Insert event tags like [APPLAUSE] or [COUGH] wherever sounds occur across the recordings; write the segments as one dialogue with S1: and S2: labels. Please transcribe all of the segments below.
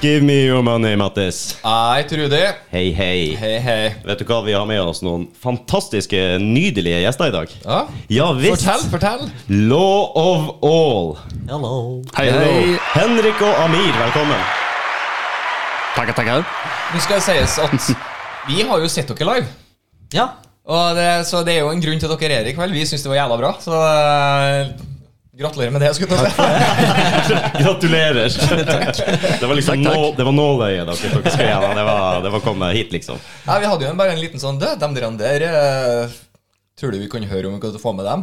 S1: Give me your money, Mattis.
S2: Hei, Trudy.
S1: Hei, hei.
S2: Hei, hei.
S1: Vet du hva, vi har med oss noen fantastiske, nydelige gjester i dag.
S2: Ja.
S1: Ja visst.
S2: Fortell, fortell.
S1: Law of all.
S3: Hello.
S4: Hei,
S2: Hei.
S1: Henrik og Amir,
S4: [LAUGHS]
S1: velkommen.
S4: Takk, takk.
S2: Nå skal det sies at vi har jo sett dere live.
S3: Ja.
S2: Og det, så det er jo en grunn til at dere er her i kveld. Vi syns det var jævla bra. Så eh, gratulerer med det. skulle jeg ta si.
S1: Gratulerer. Det var liksom
S4: Takk, takk.
S1: nå- det var nåløyet dere tok skrev av. Det var, det var kommet hit, liksom.
S2: Nei, Vi hadde jo en, bare en liten sånn Død, dem der, der eh, Tror du vi kunne høre om vi kunne få med dem?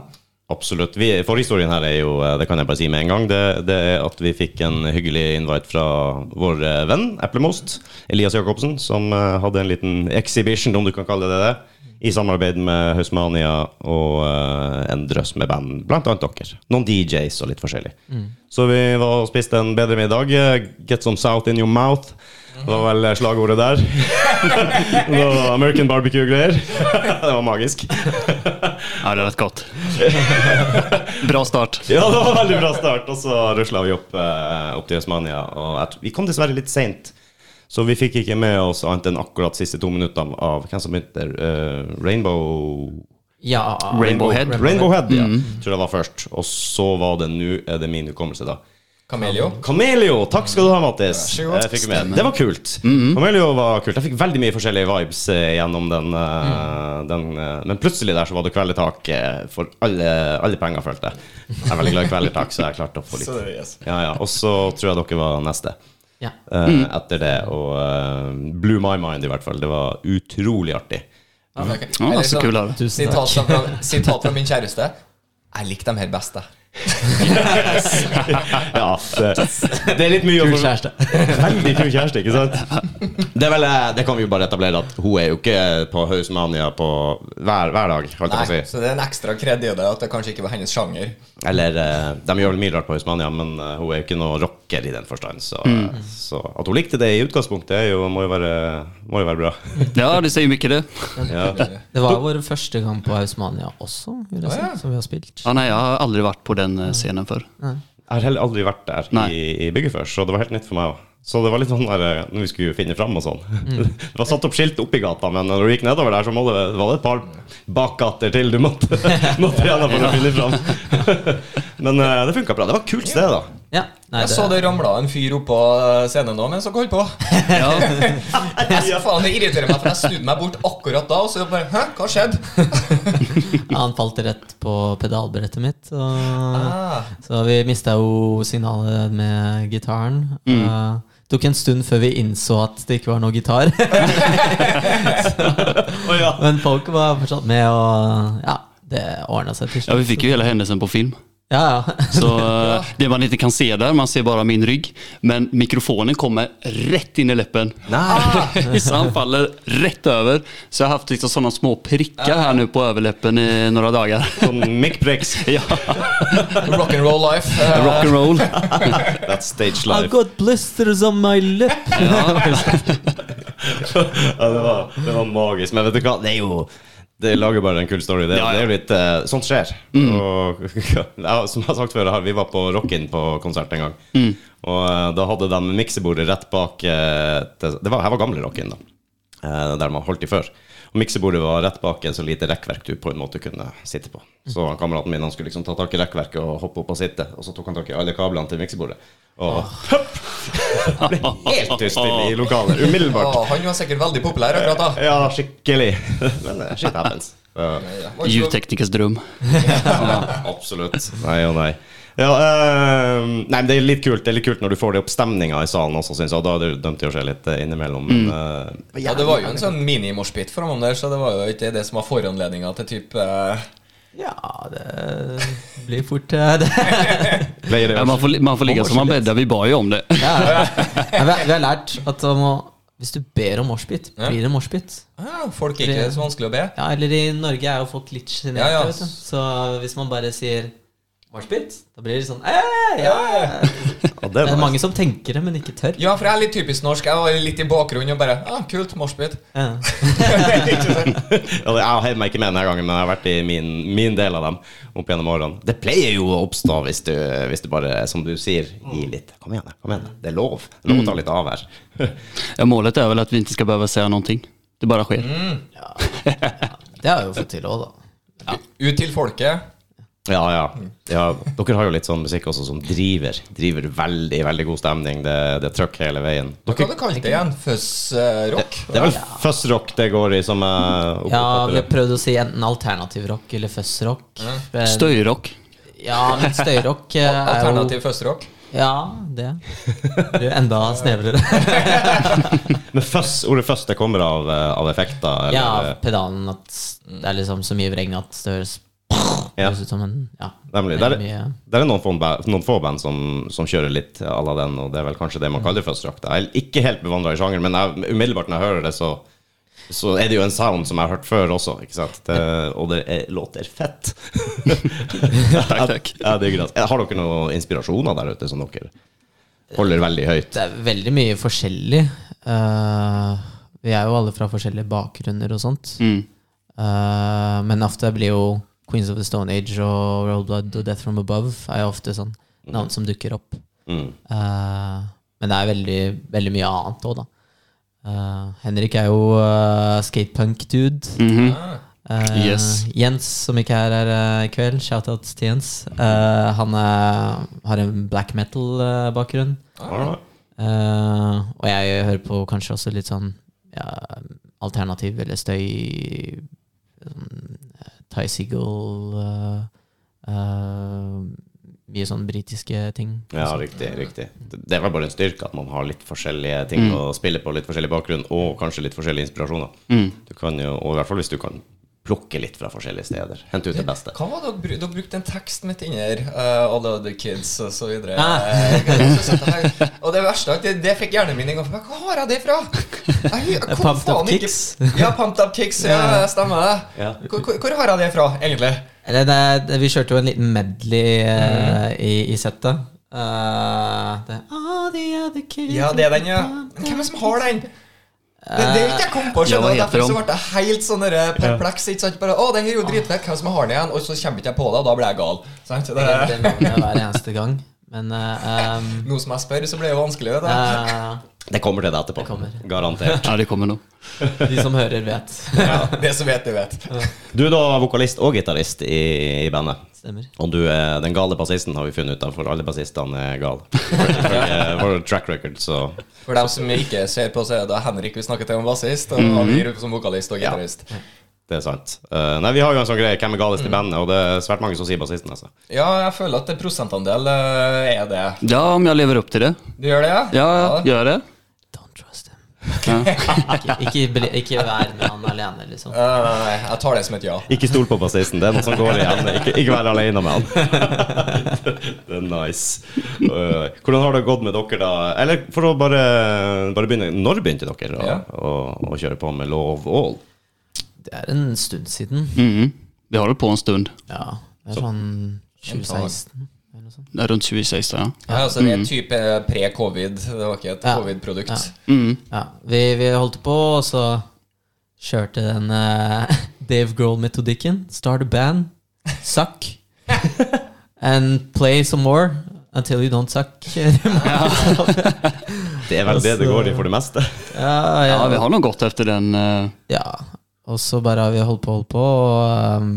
S1: Absolutt. Vi, forhistorien her er jo, eh, det kan jeg bare si med en gang, det, det er at vi fikk en hyggelig invite fra vår eh, venn Eplemost, Elias Jacobsen, som eh, hadde en liten exhibition, om du kan kalle det det, i samarbeid med Hausmania og eh, en drøss med band, blant annet dere. Noen DJs og litt forskjellig. Så vi var og spiste en bedre middag. eh, Get some south in your mouth. Det var vel eh, slagordet der. [LAUGHS] det var American barbecue-greier. [LAUGHS] det var magisk.
S4: Ja, det har vært godt. [LAUGHS] Bra start.
S1: Ja, det var en veldig bra start. Og så rusla vi opp, eh, opp til Østmania. Og jeg tr- vi kom dessverre litt seint, så vi fikk ikke med oss annet enn akkurat siste to minuttene av hvem som begynte der? Eh, Rainbow
S3: ja.
S4: Rainbow Head. Mm.
S1: Rainbow Head, ja. Tror jeg var først. Og så var det nå er det min hukommelse, da.
S2: Kamelio.
S1: Kamelio! Takk skal du ha, Mattis.
S2: Vær så god.
S1: Jeg fikk med. Det var kult. Kamelio var kult. Jeg fikk veldig mye forskjellige vibes eh, gjennom den.
S2: Mm.
S1: eh, den eh, men plutselig der så var det kvelertak eh, for alle, alle penger, følte jeg. Jeg er veldig glad i kvelertak, så jeg klarte å
S2: [LAUGHS]
S1: få litt ja, ja. Og så tror jeg dere var neste.
S3: Ja.
S1: eh, Etter det. Og eh, blew my mind, i hvert fall. Det var utrolig artig.
S2: Ja, ok.
S4: Å,
S2: Eller
S4: så
S2: sånn,
S4: kul av det.
S3: Tusen takk.
S2: Sitat fra, sitat fra min kjæreste. Jeg liker dem her best, jeg.
S1: Ja, det, det er litt mye å
S3: Kul
S1: for-
S3: kjæreste.
S1: Veldig kul kjæreste, ikke sant? Det, er vel, eh, det kan vi jo bare etablere, at hun er jo ikke på Hausmania på hver, hver dag, holdt jeg på
S2: Nei,
S1: å si.
S2: så det er en ekstra kred i det at det kanskje ikke var hennes sjanger.
S1: Eller eh, De gjør vel mye rart på Hausmania, men eh, hun er jo ikke noe rocker i den forstand. Så, eh, så at hun likte det i utgangspunktet, er jo, må, jo være, må jo være bra.
S4: Ja, det sier jo mye, det.
S1: Ja.
S3: Det var vår første kamp på Hausmania også, vil jeg si,
S2: Å, ja.
S3: som vi har spilt.
S4: Ja, Ah, nei, jeg har aldri vært på den eh, scenen før.
S1: Jeg har heller aldri vært der
S4: Nei.
S1: i, i bygget før, så det var helt nytt for meg òg. Så det var litt sånn der eh, når vi skulle finne fram og sånn. [LAUGHS] Det var satt opp skilt oppi gata, men når du gikk nedover der, så må det, var det et par bakgater til du måtte, [LAUGHS] måtte gjennom for å finne fram. [LAUGHS] Men eh, det funka bra. Det var et kult sted, da.
S3: Ja. Nei,
S2: Jeg så det ramla en fyr oppå scenen nå mens dere holdt på.
S4: Ja,
S2: Jeg, faen, det irriterer meg, for jeg snudde meg bort akkurat da, og så bare Hæ, hva skjedde?
S3: Ja, han falt rett på pedalbrettet mitt. Og,
S2: Ah.
S3: Så vi mista jo signalet med gitaren.
S2: Mm.
S3: Eh, tok en stund før vi innså at det ikke var noe
S1: [LAUGHS]
S3: gitar. [LAUGHS]
S1: Å ja.
S3: Men folk var fortsatt med, og ja, det ordna seg til
S4: ja vi
S3: slutt.
S4: fikk jo hele hendelsen på film.
S3: Ja,
S2: [LAUGHS]
S3: ja.
S4: Så eh, det man ikke kan se der, man ser bare min rygg, men mikrofonen kommer rett inn i leppen. [LAUGHS] Så han faller rett over. Så jeg har haft liksom sånne små prikker her nå på overleppen i noen dager. [LAUGHS]
S1: Sånn mic-pricks.
S4: Ja,
S2: Rock and roll life. Eh,
S4: rock and roll.
S1: That's stage
S3: I've
S1: life.
S3: got blisters on my lip.
S4: [LAUGHS]
S1: Ja, det, var, det var magisk. Men vet du hva, det er jo det lager bare en kul story. Det,
S4: Ja, Mm. ja.
S1: det er jo litt eh, Sånt skjer. Og, [LAUGHS] ja, som jeg har sagt før, her, vi var på Rockin på konsert en gang.
S4: Mm.
S1: Og eh, da hadde de miksebordet rett bak eh, til, Det var, her var gamle Rockin, da. Eh, der man holdt i før. Og miksebordet var rett bak en så lite rekkverk du på en måte kunne sitte på. Så han, kameraten min han skulle liksom ta tak i rekkverket og hoppe opp og sitte. Og så tok han tak i alle kablene til miksebordet. Og ble helt tyst i, i lokalet. Umiddelbart.
S2: og ah, han var sikkert veldig populær akkurat da.
S1: Ja, skikkelig. Men eh, shit happens. Ja,
S2: Ja,
S4: Ljudteknikers drøm.
S1: absolutt. Nei og nei. Ja, eh, nei, men det er litt kult Det er litt kult når du får det opp stemninga i salen også, syns jeg. Og da er det dømt til å skje litt eh, innimellom. Men, eh,
S2: Ja, det var jo en sånn mini-moshpit framom der, så det var jo ikke det som var foranledninga til type eh,
S3: Ja, det blir fort eh, det.
S2: [LAUGHS]
S1: ble det
S4: Ja, man, får, man får ligge som man bäddar, vi bad ju om det.
S3: [LAUGHS] Ja. Men Vi, har, vi har lært at man må, hvis du ber om moshpit, blir det moshpit.
S2: ja, ah, Folk er ikke så vanskelig å be.
S3: Ja, eller i Norge er jo folk litt sjenerte.
S2: Ja, ja.
S3: vet du. Så hvis man bare sier
S2: Marspitt?
S3: Da blir det sånn eh, ja.
S1: Ja, det
S3: Det
S1: var
S3: er mange som tenker det, men ikke tør.
S2: Ja, for jeg er litt typisk norsk. Jeg var litt i bakgrunnen og bare ah, Kult, moshpit.
S3: Ja.
S1: [LAUGHS] Ja, det- jeg har meg ikke med denne gangen, men jeg har vært i min, min del av dem opp gjennom årene. Det pleier jo å oppstå hvis du, hvis du bare, som du sier, gir litt. Kom igjen, kom igjen. Det er lov. Det er
S3: Mm.
S1: lov å ta litt av her. [LAUGHS]
S4: Ja, målet är väl att vi inte ska behöva säga någonting. Det bara sker.
S3: Det har jeg jo fått til òg, da.
S2: Ut til folket.
S1: Ja, ja. ja dere har jo litt sånn musikk også som driver. Driver veldig, veldig god stemning. Det, det er trøkk hele veien.
S2: Hva
S1: Dere,
S2: kalte du kalt det igjen? eh, Fuzz-rock?
S1: det er vel fuzzrock det går i, som jeg
S3: Ja, vi
S1: oppfatter
S3: har
S1: det.
S3: prøvd å si enten alternativ rock eller fuzzrock. Men-
S4: Stöjrock.
S3: Ja, men støyrock eh, er jo
S2: Alternativ fuzz-rock?
S3: Ja, det. Det er enda snevrere.
S1: Men fuzz, ordet fuzz, det kommer av, eh, av effekter? Eller, Mm.
S3: Ja, pedalen at det er liksom så mye vreng at det høres
S1: Ja.
S3: høres ut som en Ja.
S1: Nemlig. Der,
S3: veldig mye-
S1: der er noen få, ba- noen få band som, som kjører litt à la den, og det er vel kanskje
S3: Mm.
S1: det man kaller fuzzrock. da. Jeg er ikke helt bevandra i sjangeren, men jeg, umiddelbart når jeg hører det, så, så er det jo en sound som jeg har hørt før også, ikke sant? Det, og det er, låter
S3: [LAUGHS]
S1: fett.
S4: Tack, tack.
S1: Jeg digger det. Har dere noen inspirasjoner der ute som dere holder veldig høyt?
S3: Det er veldig mye forskjellig. Eh, vi er jo alle fra forskjellige bakgrunner og sånt.
S4: Mm.
S3: Eh, men ofte blir jo Queens of the Stone Age og Roll Blood og Death From Above er jo ofte sånn
S1: Mhm.
S3: navn som dukker opp.
S1: Mm.
S3: Eh, men det er veldig, veldig mye annet òg, da. Eh, Henrik er jo eh, skatepunk-dude.
S4: Mhm.
S3: Eh,
S4: Yes.
S3: Jens, som ikke er her eh, i kveld, shout-out til Jens. Eh, han er, har en black metal-bakgrunn.
S1: Alright.
S3: Eh, og jeg hører på kanskje også litt sånn ja, alternativ eller støy sånn, eh, Ty Seagull eh, eh, Mye sånn britiske ting.
S1: Ja, riktig. riktig Det er vel bare en styrke at man har litt forskjellige ting
S3: Mm.
S1: å spille på, litt forskjellig bakgrunn, og kanskje litt forskjellige inspirasjoner.
S3: Mm.
S1: Du kan jo, og i hvert fall hvis du kan plukke litt fra forskjellige steder. Hente ut det beste.
S2: Hva var det dere, bru- dere brukte en tekst midt inni her? Uh, all the other kids og så videre.
S3: Ah.
S2: Eh, jeg så satt jeg her. og det verste er at det, det fikk hjernen min i gang. for meg, Hva har jeg det fra? Jeg, hu- jeg kom
S3: Pumped Up
S2: faen ikke-
S3: Kicks.
S2: Ja, Pumped Up Kicks. Ja, stemmer det.
S1: Ja.
S2: Hvor, hvor, hvor har jeg det fra, egentlig?
S3: Eller det, det, vi kjørte jo en liten medley
S2: Mm.
S3: eh, i, i settet. Eh, det, All the other kids
S2: Ja, det er den, ja. Men hvem er det som har den? Det det er ikke jeg kom på.
S4: Ja,
S2: skjønner
S4: hva
S2: du?
S4: heter
S2: Derfor så
S4: den?
S2: ble jeg helt sånn der perpleks. ikke sant? Bare, å, den her er jo dritfett. Hvem som har den igjen? Og så kommer ikke jeg på det, og da blir jeg gal. Sant?
S3: Jeg glemmer det
S2: Det,
S3: navnet hver eneste gang. Men eh, um,
S2: nå som jeg spør, så blir det jo vanskelig. vet du.
S3: eh,
S1: Det kommer til deg etterpå.
S3: Det kommer. [LAUGHS]
S1: Garantert.
S4: Ja, det kommer nog.
S3: de som hører, vet.
S2: Ja, det som vet, det vet.
S1: Du er da vokalist og gitarist i, i bandet.
S3: Stemmer.
S1: Og du er den gale bassisten, har vi funnet ut av, for alle bassistene er
S3: [LAUGHS]
S1: gale. For, eh, for track record, så
S2: For dem som ikke ser på, så er det Henrik vi snakker til om bassist, og Amir som vokalist og gitarist.
S1: det er sant. Eh, nei, vi har jo en sånn greie, hvem er galest
S3: Mm.
S1: i bandet? Og det er svært mange som sier bassisten, altså.
S2: Ja, jeg føler at det prosentandel eh, er det.
S4: Ja, om jag lever upp till det.
S2: Du gjør det, ja?
S4: Ja, gör det.
S3: Don't trust him.
S4: Ja.
S3: Ikke, ikke, bli- ikke vær med han alene, liksom.
S2: Nei, nei, nei, Eh, jeg tar det som et ja.
S1: Ikke stol på bassisten, det er noe som går igjen. Ikke, ikke vær alene med han. Det er nice. Eh, hvordan har det gått med dere, da? Eller for å bare, bare begynne, når begynte dere å,
S2: Ja.
S1: å, å kjøre på med Law of All?
S3: Det er en stund siden.
S4: Mm. Vi håller på en stund.
S3: Ja, det er sånn 2016 eller noe sånt.
S4: Där Runt 2016, ja.
S2: Ja, altså Det er type pre-covid. Det var ikke et
S3: Ja.
S2: covid-produkt.
S4: Mhm.
S3: Ja, vi, vi holdt på, og så kjørte den eh, [LAUGHS] Dave Grohl-metodikken. Start a band, suck,
S4: [LAUGHS]
S3: and play some more until you don't suck. [LAUGHS] ja,
S1: Det er vel det det går i for det meste. [LAUGHS]
S4: Ja, vi
S3: ja,
S4: har nog gått efter den. eh,
S3: ja. Og så bare har vi holdt på, holdt på, og um,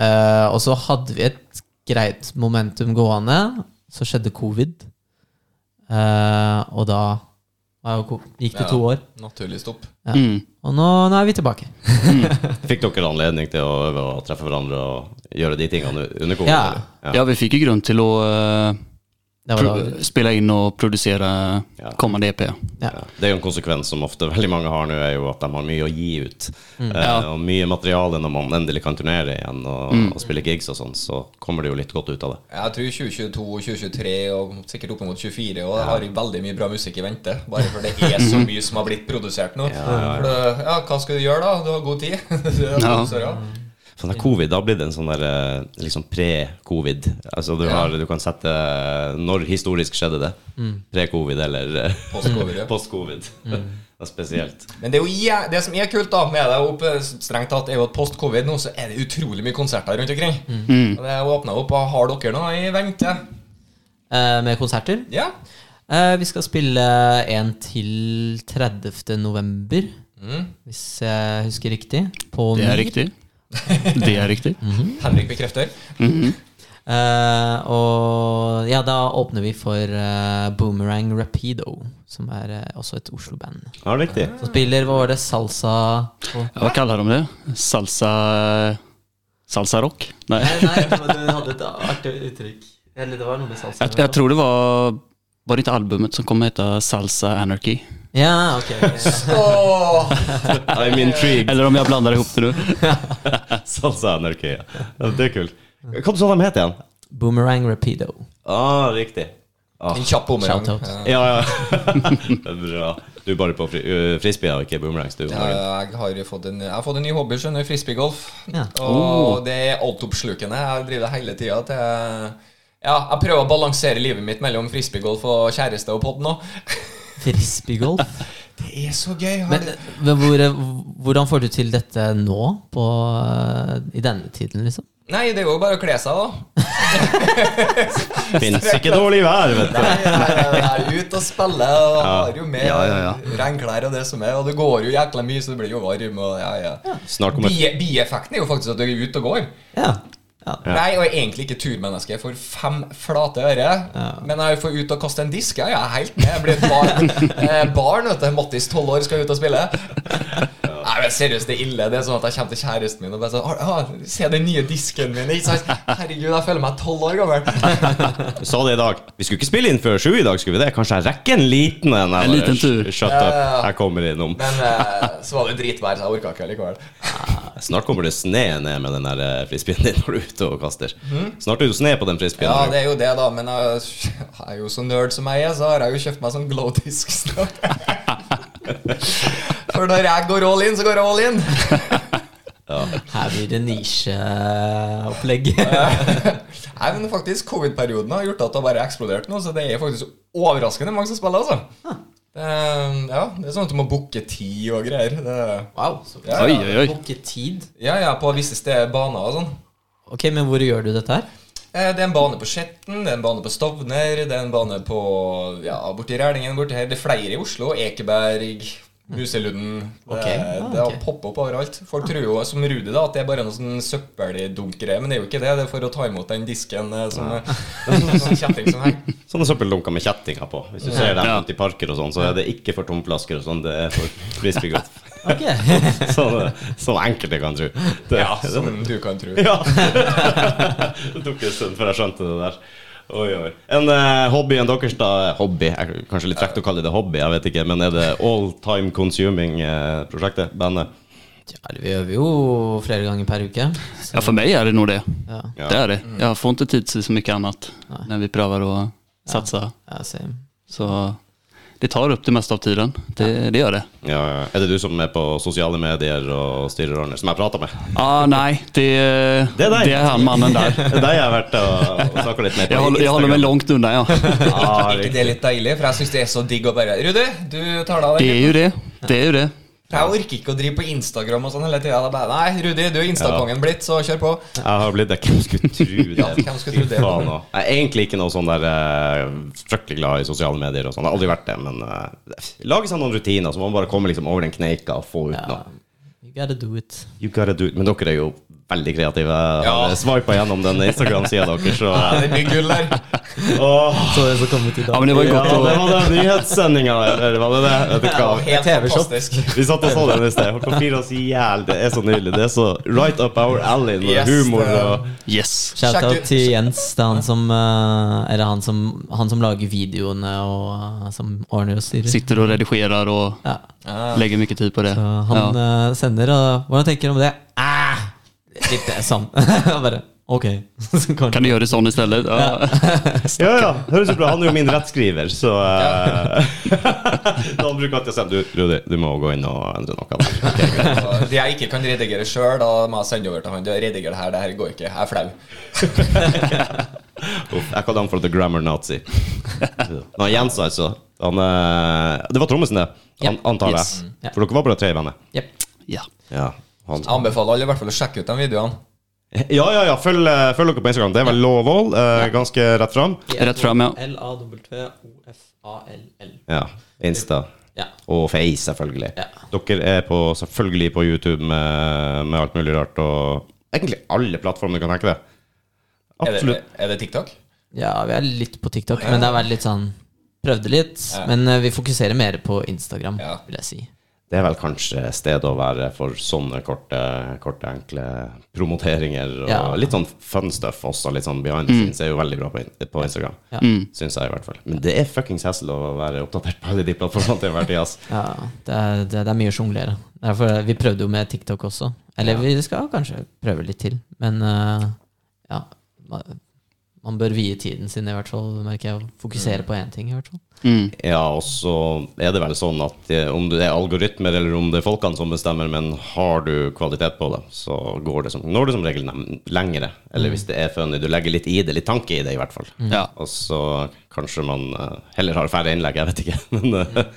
S3: eh, Og så hadde vi et greit momentum gående. Så skjedde covid, eh, og da var jo ko- gikk det to
S2: Ja.
S3: år.
S2: Naturlig stopp.
S4: Mm.
S3: Og nå, nå er vi tilbake.
S1: Fikk dere anledning til å øve og treffe hverandre og gjøre de tingene under covid?
S3: Ja.
S1: eller?
S4: Ja, vi fick ju grund till att eh,
S3: Det var da,
S4: pro- spela in och producera
S1: Ja.
S4: kommande EP.
S3: ja.
S1: Ja. Det er jo en konsekvens som ofte veldig mange har nå, er jo at de har mye å gi ut. Eh, og mye materiale når man endelig kan turnere igjen og, og spille gigs og sånn, så kommer det jo litt godt ut av det.
S2: Jeg tror 2022 og 2023 og sikkert opp mot 24 og jeg har veldig mye bra musikk i vente. Bare for det er så mye som har blitt produsert nå.
S1: Ja, ja, ja.
S2: For det, ja, hva skal du gjøre da? Du har god tid. [LAUGHS] Du er
S4: Ja.
S2: produsør, ja.
S1: For når covid, da blir det en sånn der eh, liksom pre-covid. Altså du, har, du kan sette eh, når historisk skjedde det. Pre-covid eller eh,
S2: Post-covid, ja.
S1: [LAUGHS] post-covid. [LAUGHS] Det er spesielt.
S2: Men det, er jo, jæ- det som er kult da med det opp, eh, strengt tatt, er jo at post-covid nå så er det utrolig mye konserter rundt omkring. Og det åpna opp. og Har dere noe i vente?
S3: Eh, med konserter.
S2: Ja.
S3: Eh, vi skal spille en til 30. november, hvis jeg husker riktig.
S4: Mm.
S3: På
S4: Det
S3: Myr.
S4: er riktig. Det er riktig.
S2: Henrik [LAUGHS] bekrefter.
S3: Eh, og ja, da åpner vi for eh, Boomerang Rapido, som er eh, også et Oslo-band.
S1: Ja, riktig.
S3: Som spiller hva var det, salsa og
S4: Ja, Hva kaller de det? Salsa eh, Salsa rock? Nei.
S3: Nei, nei, det var- du hadde et artig uttrykk. Eller det var noe med salsa.
S4: Jeg, jeg tror det var Var det ikke albumet som kom å hete Salsa Anarchy?
S3: Ja, ok. ok.
S2: Åh,
S1: I'm intrigued. [LAUGHS]
S4: Eller om jeg blander ihop det nå.
S1: Salsa anarki. Ja, det er kult. Hva sa de het igjen?
S3: Boomerang Rapido.
S1: Ah, riktig. Ah,
S2: En kjapp bumerang.
S3: Shout out.
S2: Ja,
S1: ja, ja. [LAUGHS] Det er Bra. Du er bare på fri, ø, frisbee og ikke boomerangs, du. om dagen.
S2: Jeg har jo fått en, jeg har fått en ny hobby, skjønner du. Frisbeegolf.
S3: Ja.
S2: Og det er altoppslukende. Jeg driver det hele tida til ja, jeg prøver å balansere livet mitt mellom frisbeegolf og kjæreste og pod nå.
S3: Frisbeegolf.
S2: Det er så gøy. Har
S3: Men,
S2: du-
S3: men hvor, eh, hvordan får du til dette nå, på, eh, i denne tiden, liksom?
S2: Nei, det er jo bare å kle seg, da.
S1: Fins ikke dårlig vær, vet du.
S2: Nei, nei, nei, nei, Ut og spille. Og har jo med
S4: Ja, ja, ja.
S2: regnklær og det som er. Og det går jo jækla mye, så du blir jo varm. Og, ja, ja.
S1: Snart kommer
S2: Bie, bieffekten er jo faktisk at du er ute og går.
S3: Ja. ja.
S2: Nei, og jeg er egentlig ikke turmenneske. Jeg får fem flate øre. Men jeg får ut og kaste en disk. Ja, jeg er helt med. Jeg blir et
S4: [LAUGHS]
S2: barn. eh, barn vet du. Mattis, tolv år, skal ut og spille. Nei, men seriøst, det er ille. Det er sånn at jeg kommer til kjæresten min og bare sånn «Har- har- Se den nye disken min. Ikke sant? Herregud, jeg føler meg tolv år gammel.
S1: Du sa det i dag. Vi skulle ikke spille inn før sju i dag, skulle vi det? Kanskje jeg rekker en liten en? jeg
S4: En
S1: bare,
S4: liten tur.
S1: sh- Shut up. Jeg kommer innom.
S2: Men eh, så var det dritvær, så jeg orka ikke likevel.
S1: Snart kommer det sne ned med den der eh, frisbeen din når du er ute og kaster. Snart er det jo sne på den frisbeen.
S2: Mhm. Ja, det er jo det, da. Men jeg jeg er jo så nerd som jeg er, så har jeg jo kjøpt meg sånn glowdisk snart. For når jeg går all in, så går jeg all in.
S3: Her blir det nisjeopplegg.
S2: Nei, men faktisk, Covid-perioden har gjort at det har bare eksplodert nå, så det er faktisk overraskende mange som spiller, altså. Det, er- ja, det er sånn at du må booke tid og greier. Det,
S3: Wow. Så
S2: ja,
S4: Oi,
S2: ja.
S4: oi, oi.
S3: Booke tid.
S2: ja, ja, på visse steder, baner og sånn.
S3: Ok, men hvor gjør du dette her?
S2: Eh, Det er en bane på Skjetten, det er en bane på Stovner, det er en bane på ja, borti Rælingen, borti her. Det er flere i Oslo. Ekeberg, Museludden.
S3: Ok,
S2: Det,
S3: ja,
S2: det har
S3: ok.
S2: poppet opp overalt. Folk tror jo, som Rudi, da, at det er bare noe sånn søppeldunk-greie, men det er jo ikke det. Det er for å ta imot den disken eh, som [LAUGHS] som en sånn kjetting som henger.
S1: Sånne søppeldunker med kjettinger på. Hvis du ser dem
S4: Ja.
S1: ute i parker og sånn, så er det ikke for tomflasker og sånn, det er
S2: [LAUGHS]
S1: for frisbeegolf.
S4: [LAUGHS]
S3: Ok
S1: Sånn, eh, sånn enkelte kan tro. Det-
S2: Ja, [LAUGHS] sånn som du kan tro.
S1: Ja. [LAUGHS] det tok en stund før jeg skjønte det der. Oi, oi. En eh, hobby enn deres, da? Hobby? Jeg, kanskje litt frekt å kalle det hobby, jeg vet ikke. Men er det all time consuming-prosjektet? Bandet?
S3: ja, Vi øver jo flere ganger per uke. Så,
S4: Ja, for meg er det nog det.
S3: ja,
S4: Det er det. Jeg får ikke tid til så mye annet når vi prøver å satse.
S3: ja, same.
S4: Så det tar opp det meste av tiden. Det, det gjør det.
S1: Ja, ja. Er det du som er på sosiale medier og styrer og ordner, som jeg prater med?
S4: Ah, nei, det,
S1: Det er deg.
S4: det er han mannen
S1: [LAUGHS]
S4: der.
S1: Det er deg jeg har vært og, og snakka litt med Ah,
S4: Jeg håller, jeg håller meg langt unna, ja.
S1: Ja,
S2: [LAUGHS] Er ikke det litt deilig? For jeg syns det er så digg å bare Rudi, du tar deg av
S4: Det
S2: det.
S4: er jo det. Det er jo det.
S2: Jeg orker ikke å drive på Instagram og sånn hele tida. Nei, Rudi, du er Instakongen blitt, så kjør på.
S1: Jeg har blitt det. Hvem skulle
S2: [LAUGHS]
S1: tro det?
S2: Ja, hvem skulle tro
S1: Fy
S2: det?
S1: faen, nå. Jeg er egentlig ikke noe sånn der eh, fryktelig glad i sosiale medier og sånn. Jeg har aldri vært det, men uh, lage seg noen rutiner, så må man bare komme liksom over den kneika og få ut
S3: Ja.
S1: noe.
S3: You gotta do it.
S1: You gotta do it. Men dere er jo veldig kreative. Jeg
S2: Ja.
S1: har Swipa gjennom den Instagram-sida
S2: [LAUGHS]
S1: deres, så
S2: Ja, [LAUGHS] det er mye gull der.
S1: Åh,
S3: Så det som kom ut i
S4: Ja,
S3: dag.
S4: men det var jo
S1: Ja,
S4: godt
S1: det
S4: å
S1: var den nyhetssendinga der, eller var det det? Vet du hva?
S2: Helt
S3: TV-shop.
S2: fantastisk.
S1: Vi satt og så den i sted. Holdt på å flire oss i hjel. Det er så nydelig. Det er så right up our alley med
S2: Yes,
S1: humor
S2: det er-
S1: og
S4: Yes.
S3: Shout
S2: Sjekk
S3: out
S2: ut-
S3: til Jens. Det er han som, eh, eller han som, han som lager videoene og eh, som ordner og styrer.
S4: Sitter og redigerer og
S3: Ja.
S4: lägger mycket tid på det.
S3: Så han
S4: Ja.
S3: eh, sender, og hvordan tenker du om det? Ah! Litt eh, sånn. [LAUGHS] Og Bare, Ok. [LAUGHS] Så kanskje-
S4: Kan du göra det sån istället? Ja.
S1: Ja, ja. Høres ut bra. Han er jo min rettskriver, så eh, [LAUGHS] Da bruker alltid å si du, Rudi, du må gå inn og endre noe der.
S2: Så Altså, Det jeg ikke kan redigere sjøl, da må jeg sende over til han. Du, Rediger det her, det her går ikke. Jeg er flau.
S1: Uff, jeg kaller han for The Grammar Nazi. Nå, Jens, altså. Han, eh, det var trommisen, det. An,
S3: Ja,
S1: antar jeg.
S3: yes. Ja.
S1: For dere var bare tre i bandet.
S3: Jep.
S4: [LAUGHS] ja.
S1: Ja, han.
S2: Jeg anbefaler alle i hvert fall å sjekke ut de videoene.
S1: ja, ja. ja. Følg, eh, følg dere på Instagram. Det er vel Lovål. eh, ganske rett fram.
S4: Rätt fram ja.
S3: L-A-W-O-F-A-L-L.
S1: Ja. Insta.
S3: Ja.
S1: Og Face, selvfølgelig.
S3: Ja.
S1: Dere er på, selvfølgelig på YouTube med, med alt mulig rart og Egentlig alle plattformer du kan tenke deg.
S2: Er det,
S1: Absolutt.
S2: er det TikTok?
S3: ja, vi er litt på TikTok, men det har vært litt sånn Prøvde litt, men eh, vi fokuserer mer på Instagram,
S2: Ja.
S3: vil jeg si.
S1: Det er vel kanskje stedet å være for sånne korte, korte enkle promoteringer. Og
S3: Ja.
S1: litt sånn fun stuff også. Litt sånn behind the scenes er jo veldig bra på, in- på Instagram.
S3: Ja.
S1: Syns jeg, i hvert fall. Men det er fuckings hassle å være oppdatert på alle de plattformene til enhver tid, ass.
S3: Ja, det er, det, det er mye å sjonglere. Derfor, vi prøvde jo med TikTok også. Eller vi skal kanskje prøve litt til, men eh, ja man, man bør vie tiden sin, i hvert fall, merker jeg. og Fokusere på én ting, i hvert fall.
S4: Mm.
S1: Ja, og så er det vel sånn at eh, om det er algoritmer eller om det er folkene som bestemmer, men har du kvalitet på det, så går det som, når det som regel nem- lengre.
S3: Mm.
S1: Eller hvis det er funny, du legger litt i det, litt tanke i det i hvert fall.
S4: Ja.
S1: Og så kanskje man eh, heller har færre innlegg, jeg vet ikke. [LAUGHS] Men
S3: Mm.
S1: eh,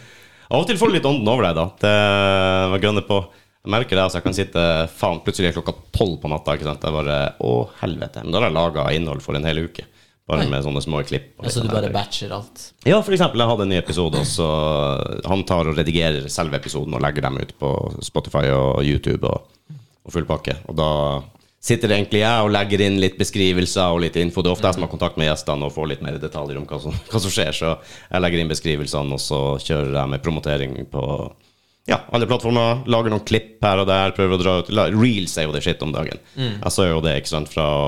S1: av og til får du litt ånden over deg, da. Det var grønne på. Jeg merker det, altså jeg kan sitte faen, plutselig er klokka tolv på natta. ikke sant? Jeg bare, Å, helvete. Men da har jeg laga innhold for en hel uke. Bare med sånne små klipp. og litt
S3: Altså
S1: sånn
S3: du
S1: her.
S3: bare batcher alt.
S1: Ja, for eksempel, jeg hadde en ny episode, og så han tar og redigerer selve episoden og legger dem ut på Spotify og YouTube og, og full pakke. Og da sitter egentlig jeg og legger inn litt beskrivelser og litt info. Det er ofte jeg som har kontakt med gjestene og får litt mer detaljer om hva som, hva som skjer, så jeg legger inn beskrivelsene, og så kjører jeg med promotering på ja, alle plattformer. Lager noen klipp her og der, prøver å dra ut la- Reels er jo det shit om dagen. Jeg så jo det, ikke sant, fra å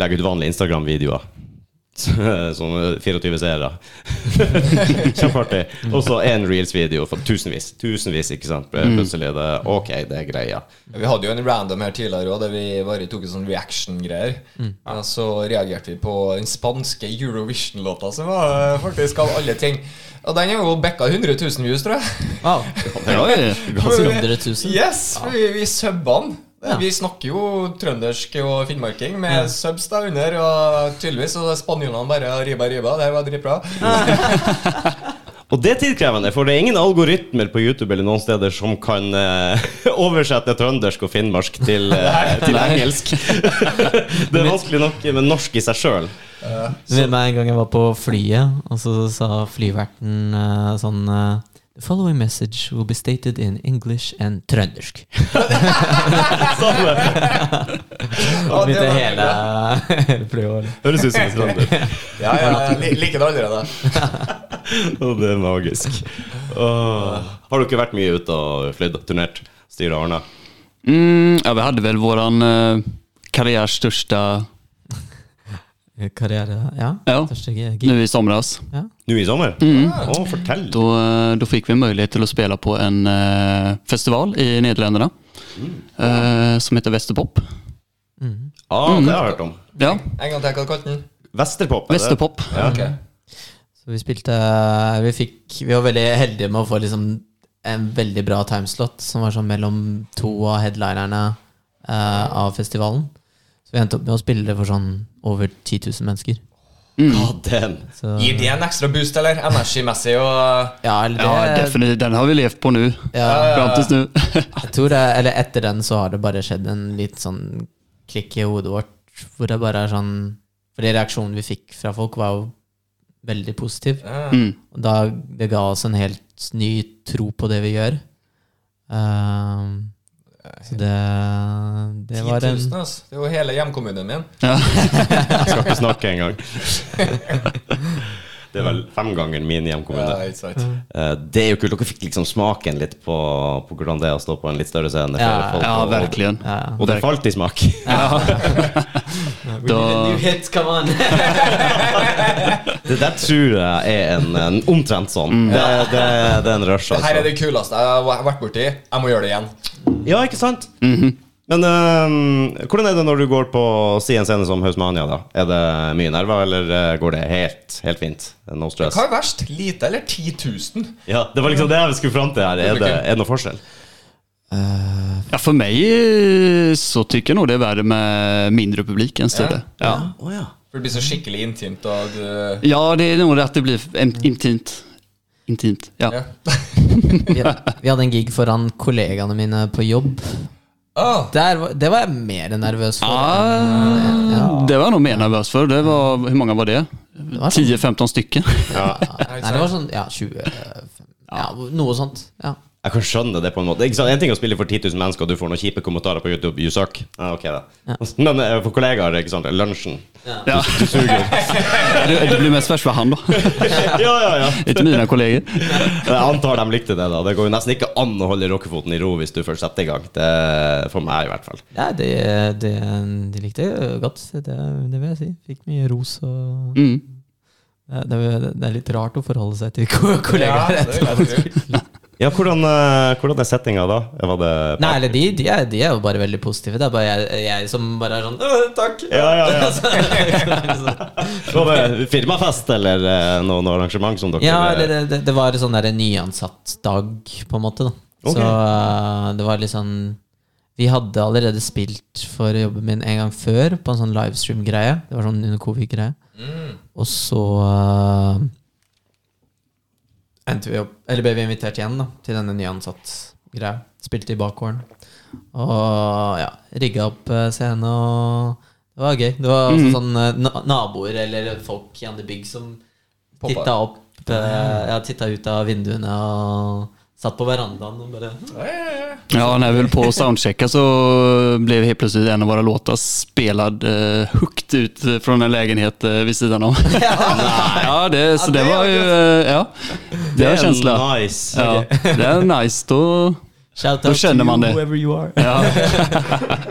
S1: legge ut vanlige Instagram-videoer. [LAUGHS] Sånn 24 seere. Kjempeartig. Og [LAUGHS] så én reels-video for tusenvis. Tusenvis, ikke sant. Plutselig er det ok, det er greia.
S2: Vi hadde jo en random her tidligere òg, der vi bare tok en sånn reaction-greier. Ja, Så reagerte vi på den spanske Eurovision-låta, som var eh, faktisk av alle ting. Og den har jo backa 100 000 views, tror jeg.
S3: Wow.
S4: Oi.
S3: [LAUGHS] Ganske 100 000.
S2: Yes, for vi, vi subba den. Vi snakker jo trøndersk og finnmarking med subs der under, og tydeligvis så spanjolene bare riba, riba. Det her var dritbra.
S1: Og det er tidkrevende, for det er ingen algoritmer på YouTube eller noen steder som kan eh, [LAUGHS] oversette trøndersk og finnmark til, eh, [LAUGHS] til engelsk. det er vanskelig nok, men norsk i seg sjøl.
S3: Du vet meg en gang jeg var på flyet, og så sa flyverten eh, sånn eh, The following message will be stated in English and
S2: [LAUGHS]
S3: trøndersk.
S2: Ja,
S3: Og
S2: det
S3: begynte
S2: var-
S3: hele [LAUGHS] flyet
S1: Høres ut som en trønder.
S2: Ja, ja, jeg li- liker det allerede.
S1: Og det er magisk. Åh. Har du ikke vært mye ute og flydd? Turnert? Styrt Arna?
S4: Mm, ja, vi hade väl våran eh, karriärs största
S3: å Eh, Karriere Ja.
S4: Ja.
S3: Største gig.
S4: nu i somras.
S3: Ja.
S1: Nå i sommer? Å, fortell!
S4: Då, eh, då fick vi en möjlighet till att spela på en eh, festival i Nederländerna
S3: Mm.
S4: eh, som heter Västerpop.
S1: Ah, det har jeg hørt om.
S4: Ja,
S2: En gang til, hva kalte den?
S1: Vesterpop. er det?
S4: Västerpop.
S1: Ja.
S2: Ok.
S3: Så vi spilte eh, Vi fikk Vi var veldig heldige med å få liksom en veldig bra timeslot som var sånn mellom to av headlinerne eh, av festivalen. Så vi endte opp med å spille for sånn over 10 000 mennesker.
S1: Ah, den.
S3: Så,
S2: Gir det en ekstra boost, eller? Energimessig og
S3: ja, eller det,
S4: Ja, definitivt. Den har vi levt på nu.
S3: Ja.
S4: Fram tills nu.
S3: Jeg tror det, eller etter den så har det bare skjedd en litt sånn klikk i hodet vårt, hvor det bare er sånn For de reaksjonene vi fikk fra folk, var jo veldig positiv.
S4: [LAUGHS] Mm.
S3: Og da, det ga oss en helt ny tro på det vi gjør. Ehm, så det Det
S2: 10
S3: var
S2: 000,
S3: en
S2: altså. Det er jo hele hjemkommunen min.
S1: Jeg skal ikke snakke engang. [LAUGHS] Det er vel fem ganger min
S2: Ja,
S1: hjemkommune.
S2: ikke sant.
S1: Eh, Det er jo kult. Dere fikk liksom smaken litt på, på hvordan det er å stå på en litt større scene.
S3: Ja,
S1: flere folk,
S4: Ja,
S1: og-
S4: verkligen.
S3: ja.
S1: Og det falt i smak.
S4: Då,
S1: [LAUGHS] Det der tror jeg er en, en omtrent sånn. Det, det, det er en rush,
S2: Her er
S1: altså.
S2: det kuleste jeg har vært borti. Jeg må gjøre det igjen.
S4: Mm. Mhm.
S1: Ja, ikke sant? Men eh, hvordan er det når du går på si en scene som Hausmania, da? Er det mye nerver, eller eh, går det helt, helt fint? No stress?
S2: Hva er verst? Lite eller 10 000?
S1: Ja, det var liksom det jeg skulle fram til her. Er det, er det noe forskjell?
S4: Ja, för mig eh, så tycker jag nog det är värre med mindre publik än större. Ja. Ja.
S1: Oh, ja.
S2: For det blir så skikkelig intimt, og eh, du
S4: det är nog det att det blir em- intimt. Intimt, ja.
S2: ja.
S3: Vi, vi hadde en gig foran kollegaene mine på jobb.
S2: Åh,
S3: Der, var- det var jeg mer nervøs for.
S4: Ah, Det var jag nog mer nervös för. Det var, hur många var sånn- det?
S3: var så-
S4: 10-15 stycken.
S3: [LAUGHS] Nei, det var sånn ja, 20 eh, ja, Noe sånt. Ja.
S1: Jeg kan skjønne det på en måte. Ikke sant? En ting er å spille for 10 000 mennesker, og du får noen kjipe kommentarer på YouTube. You suck. Ja, ok da. [LAUGHS] Men eh, for kollegaer, ikke sant. Lunsjen.
S4: Ja. det, det blir mest värst för han då.
S1: [LAUGHS] Ja, ja, ja.
S4: Inte mina kollegor.
S1: Jeg antar de likte det, da. Det går jo nesten ikke an å holde rockefoten i ro hvis du først setter i gang. Det, for meg, i hvert fall.
S3: Nei, det, det, de likte det godt. Det, det vil jeg si. Fikk mye ros og
S4: Mm.
S3: Ja, det, er- det er litt rart å forholde seg til ko- kollegaer.
S2: Ja, det vil jeg
S1: Ja, hvordan, eh, hvordan er settinga da? Var det
S3: Nei, eller de, de, er, de er jo bare veldig positive. Det er bare jeg, jeg som bare er sånn «Øh, Takk! [LAUGHS]
S1: Ja, ja, ja.
S3: ja.
S1: Var det firmafest eller eh, noe, noe arrangement som dere
S3: eller det, det, det var sånn der en nyansatt-dag, på en måte. da
S1: Ok.
S3: Så eh, det var litt sånn Vi hadde allerede spilt for jobben min en gang før, på en sånn livestream-greie. Det var sånn under covid-greie.
S1: Mm.
S3: Og så eh, endte vi opp Eller ble vi invitert igjen da til denne nyansatt-greia. Spilte i bakgården. Og ja, rigga opp eh, scene, og det var gøy. Det var
S1: Mm.
S3: også sånn eh, na naboer eller folk i andre bygg som
S2: Poppa.
S3: titta opp eh, Ja, titta ut av vinduene og satt på verandaen og bare hmm.
S4: Ja, när vi höll på att soundchecka så blev helt plötsligt en av våra låtar spelad eh, högt ut från en lägenhet eh, vid sidan om. [LAUGHS] ja, det, så det var ju... eh, Ja, det var
S1: er
S4: känsla.
S1: Nice.
S4: Ja, det är nice. Då,
S3: Shout
S4: då
S3: out to
S4: känner man det.
S3: whoever you are.
S4: Ja. [LAUGHS]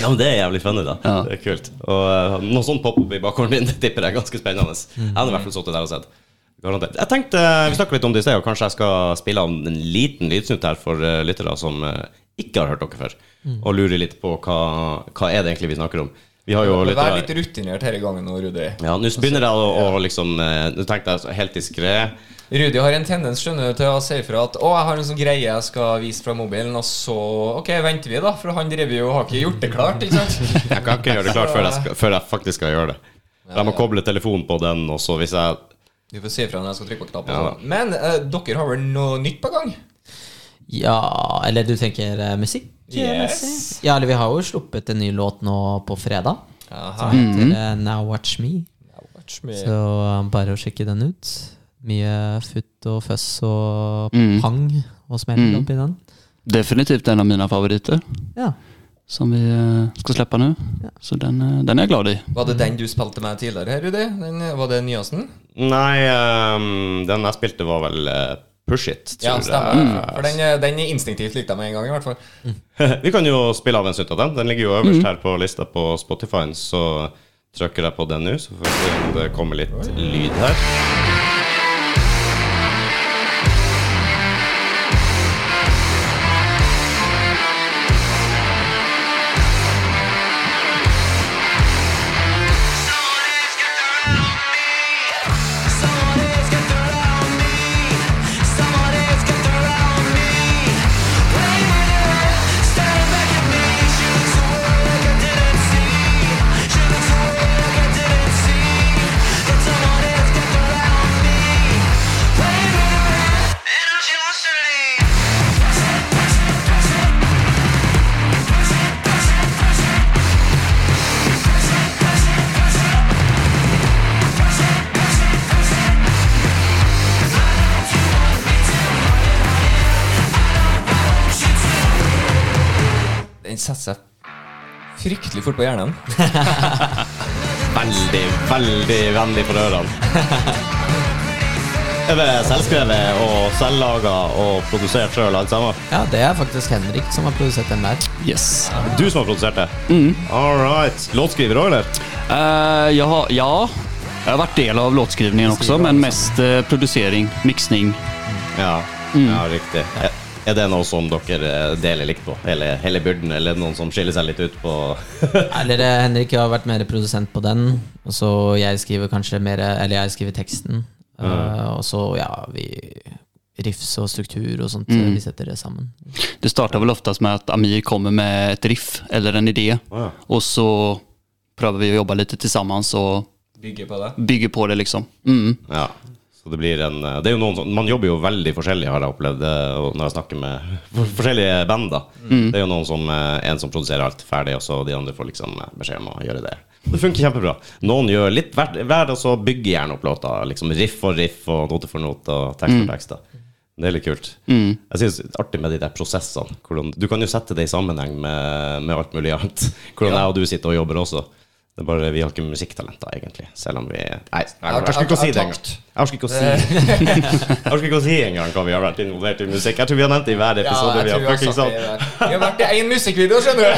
S1: Ja, men Det er jævlig funny, da.
S4: Ja.
S1: Det er kult. Og eh, Noe sånt pop-up i bakgården min [LAUGHS] det tipper jeg er ganske spennende. Jeg hadde i hvert fall sittet der og sett. Garantert. Jeg tenkte, eh, Vi snakket litt om det i sted, og kanskje jeg skal spille av en liten lydsnutt her for eh, lyttere som eh, ikke har hørt dere før,
S2: Mm.
S1: og lurer litt på hva, hva er det egentlig vi snakker om. Vi har jo
S2: Vær litt Altså,
S1: lyttere
S2: rutinert denne gangen nå, Rudi.
S1: Ja, nå begynner jeg å, å liksom eh, Nå tenkte jeg altså helt diskré.
S2: Rudi har en tendens skjønner du, til å si ifra at 'Å, jeg har en sånn greie jeg skal vise fra mobilen', og så Ok, venter vi, da, for han driver jo og har ikke gjort det klart, ikke
S1: [LAUGHS]
S2: sant?
S1: Jeg kan ikke gjøre det klart før jeg, skal, før jeg faktisk skal gjøre det. Jeg må koble telefonen på den, og så hvis jeg
S2: Du får si ifra når jeg skal trykke på knappen.
S1: Ja.
S2: og sånn. Men eh, dere har vel noe nytt på gang?
S3: Ja, eller du tenker eh, musikk?
S2: Yes.
S3: musikk? Ja, eller vi har jo sluppet en ny låt nå på fredag.
S2: Aha.
S3: Som
S4: Mhm.
S3: heter eh, Now Watch Me.
S2: Watch
S3: Så
S2: me.
S3: eh, bare å sjekke den ut. Mye futt og føss og
S4: Mm.
S3: pang og smell
S4: Mm.
S3: oppi den.
S4: Definitivt en av mina favoriter
S3: Ja.
S4: som vi eh, ska släppa nu. Så den, eh, den är jag glad i.
S2: Var det den du spilte med tidligere, her, Rudi? Den, eh, var det nyeste?
S1: Nei, ehm, den jeg spilte var vel eh, Push It,
S2: Ja,
S1: tror
S2: stemmer. For
S1: jeg.
S2: den, eh, den instinktivt likte jeg med en gang, i hvert fall.
S1: [LAUGHS] Vi kan jo spille av en snutt av den. Den ligger jo
S2: Mhm.
S1: øverst her på lista på Spotify, så trykker jeg på den nå, så får vi se om det kommer litt lyd her.
S2: Den setter seg fryktelig fort på hjernen.
S1: Veldig, veldig vennlig for
S2: [LAUGHS]
S1: ørene. Er det selvskrevet og selvlaga og produsert sjøl, alt sammen?
S3: ja, det er faktisk Henrik som har produsert den der.
S4: Yes.
S1: Du som har produsert det?
S2: Mhm.
S1: All right. Låtskriver òg, eller?
S4: Eh, jag har, ja, jag har varit del av
S1: altså?
S4: låtskrivningen också, men mest eh, producering, mixning.
S1: Ja, ja riktig. Er, Er det noe som dere eh, deler likt på, hele, hele byrden, eller noen som skiller seg litt ut på
S3: Eller eh, Henrik har vært mer produsent på den, og så jeg skriver kanskje mer Eller jeg skriver teksten. eh, og så, ja, vi Riffs og struktur og sånt, eh,
S1: Mm.
S3: vi setter det sammen.
S4: Det startar väl oftast med att Amir kommer med ett riff eller en idé
S1: ja.
S4: och så prövar vi att jobba lite tillsammans och
S2: Bygge på det.
S4: bygger på det liksom. Mm.
S1: Ja. Så det blir en eh, Det er jo noen som Man jobber jo veldig forskjellig, har jeg opplevd eh, og når jeg snakker med [LAUGHS] for- forskjellige band. da Det er jo noen som eh, En som produserer alt ferdig, og så de andre får liksom eh, beskjed om å gjøre det. Det funker kjempebra. Noen gjør litt hver, hver og så bygger gjerne opp låta. Liksom riff for riff og note for note og tekst for tekst. da det er litt kult. Jeg synes det er Artig med de der prosessene. Hvordan, du kan jo sette det i sammenheng med, med alt mulig annet. [LAUGHS] Hvordan jeg og du sitter og jobber også. Det er bare Vi har ikke musikktalenter, egentlig. Selv om vi Nei, jeg orker ikke å si det engang. Jeg orker ikke å si [LAUGHS] Jeg orker ikke å si engang hva vi har vært involvert i musikk. Jeg tror vi har nevnt det i hver
S2: Ja,
S1: episode.
S2: jeg
S1: vi,
S2: tror
S1: har
S2: vi har
S1: fucking
S2: sagt det.
S1: sagt.
S2: der. Vi har vært i én musikkvideo, skjønner
S1: [LAUGHS]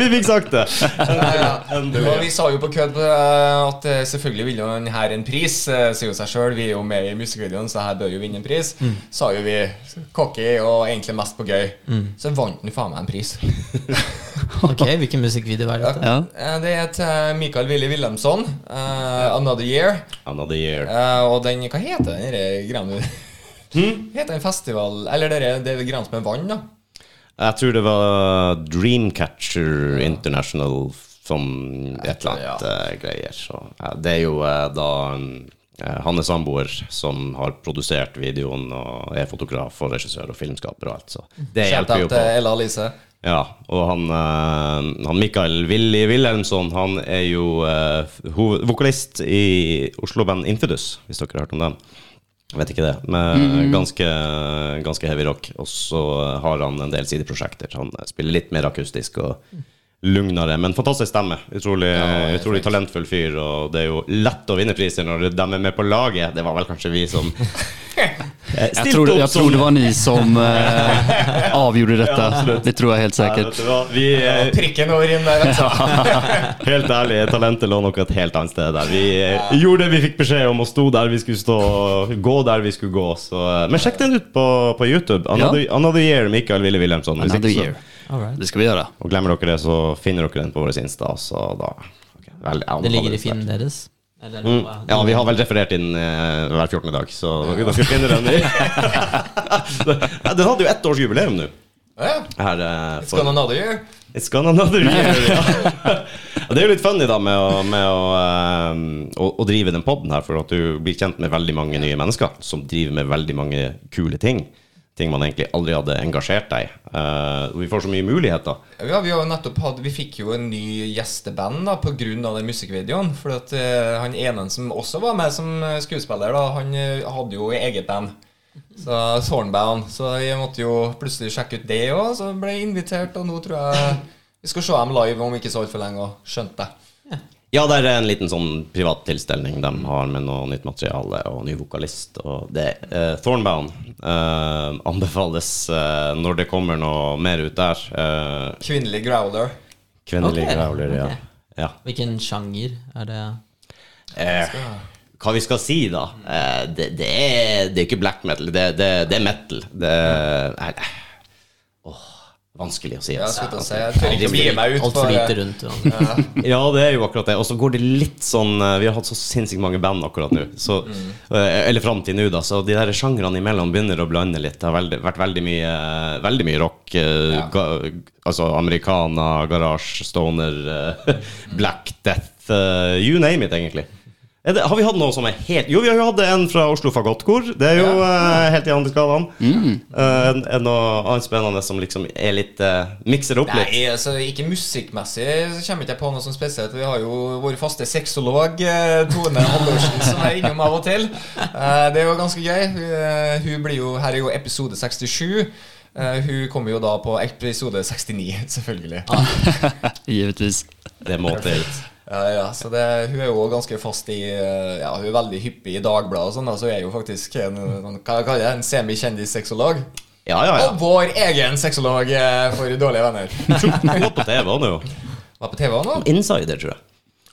S2: du.
S1: vi fikk sagt det!
S2: Ja,
S1: [LAUGHS]
S2: ja. Og vi sa jo på kødd eh, at eh, selvfølgelig vil jo han her en pris. eh, Sier jo seg sjøl, vi er jo med i musikkvideoen, så her bør jo vinne en pris.
S1: Mm.
S2: Sa jo vi cocky og egentlig mest på gøy.
S1: Mm.
S2: Så vant han faen meg
S1: [LAUGHS]
S2: en pris.
S3: Ok, Hvilken musikkvideo er dette?
S4: Ja.
S2: Eh, Det er til Michael Willy Wilhelmsson, eh, 'Another Year'.
S1: Another year.
S2: Eh, og den Hva heter den derre greia nå?
S1: Mm.
S2: [LAUGHS] Heter den festival Eller dere- det er greia som er vann, da?
S1: Jeg tror det var Dreamcatcher International som et eller annet eh, greier. Så, ja, det er jo eh, da eh, han er samboer som har produsert videoen og er fotograf og regissør og filmskaper og alt, så det
S2: Shout-out
S1: hjelper jo
S2: til
S1: på.
S2: Ella Alice.
S1: Ja, og han, eh, han Mikael Willy Wilhelmsson, han er jo eh, hoved- vokalist i Oslo-band Infidus, hvis dere har hørt om dem. Jeg vet ikke det, men ganske, ganske heavy rock. Og så har han en del sideprosjekter. Han spiller litt mer akustisk og lugnere, men fantastisk stemme. Utrolig, utrolig talentfull fyr, og det er jo lett å vinne priser når de er med på laget. Det var vel kanskje vi som Eh,
S4: Jag, tror, jag tror det var ni
S1: [LAUGHS]
S4: som eh, avgjorde
S1: Ja,
S4: detta.
S1: absolut.
S4: det tror jeg helt säkert.
S1: Vi, eh,
S2: Prikken over
S1: [LAUGHS]
S2: inn der. vet du.
S4: [LAUGHS]
S1: Helt ærlig, talentet lå nok et helt annet sted der. Vi eh, gjorde det vi fikk beskjed om, og sto der vi skulle stå, og gå der vi skulle gå. Så, eh, men sjekk den ut på, på YouTube. Another, another Year, Mikael Wille Wilhelmsson. Hvis
S4: Another
S1: ikke så-
S4: year.
S3: All right.
S4: Det ska vi göra.
S1: Og glemmer dere det, så finner dere den på vår Insta. Så da ok, vel, jeg
S3: Det ligger
S1: anbefaler
S3: i filmen deres? Eller,
S1: Mm. Ja, vi har vel referert inn eh, hver 14. dag, så dere finner
S3: [LAUGHS]
S1: den [LAUGHS] i Den hadde jo ett års jubileum nå.
S2: Ja.
S1: Her, eh,
S2: It's
S1: for-
S2: gonna another year.
S1: It's gone
S3: [LAUGHS]
S1: another year, ja. Det er jo litt funny da med, å, med å, ehm, å, å drive den podden her, for at du blir kjent med veldig mange nye mennesker som driver med veldig mange kule ting. Ting man egentlig aldri hadde engasjert deg i. Eh, og vi får så mye muligheter.
S2: Ja, vi, har jo nettopp hatt, vi fikk jo en ny gjesteband da, pga. den musikkvideoen. For at, eh, han ene som også var med som eh, skuespiller, da, han eh, hadde jo eget band. Så Thornbound. Så jeg måtte jo plutselig sjekke ut det òg, så ble jeg invitert. Og nå tror jeg vi skal se dem live om ikke så altfor lenge, og skjønte det.
S1: Ja, det er en liten sånn privat tilstelning de har med noe nytt materiale og ny vokalist. Og det, eh, Thornbound eh, anbefales eh, når det kommer noe mer ut der. Eh,
S2: Kvinnelig growler.
S1: kvinnelig
S3: Ok.
S1: growler, ja.
S3: Ok.
S1: ja.
S3: Hvilken sjanger er det?
S1: Eh, hva vi skal si, da? Eh, det, det, er, det er ikke black metal, det, det, det er metal. Det er eh, åh, vanskelig å si.
S2: Ja, jeg
S1: altså.
S2: skulle til å si. Jeg tør ikke bli meg ut
S3: Altfor
S2: for
S3: lite
S2: eh,
S3: rundt. Og, [LAUGHS]
S1: [LAUGHS] Ja, det er jo akkurat det. Og så går det litt sånn eh, Vi har hatt så sinnssykt mange band akkurat nå, så, eh, eller fram til nå, da, så de der sjangrene imellom begynner å blande litt. Det har veldig, vært veldig mye, eh, veldig mye rock. eh, Ga, altså americana, garasje, stoner, eh, [LAUGHS] black death, eh, you name it, egentlig. Er det, har vi hatt noe som er helt Jo, vi har jo hatt en fra Oslo Fagottkor. Det er jo eh, helt i andre skalaen. Eh, en- en noe annet spennende som liksom er litt eh, Mikser opp litt.
S2: Nei, altså ikke musikkmessig så kommer ikke jeg på noe som spesielt. Vi har jo vår faste sexolog eh, Tone Halvorsen som er innom av og til. Eh, Det er jo ganske gøy. Hun- Hun blir jo, Her er jo episode 67. Eh, Hun kommer jo da på episode 69, selvfølgelig.
S4: Givetvis.
S1: Det må til.
S2: Ja, ja, så det, Hun er jo også ganske fast i eh, Ja, hun er veldig hyppig i Dagbladet, og sånn, da, så hun er jo faktisk en, en, hva kaller jeg det, en semikjendis-sexolog.
S1: Ja, ja, ja.
S2: Og vår egen sexolog eh, for dårlige venner.
S1: Hun var på TV nå.
S2: Var på TV nå?
S1: Insider, tror jeg.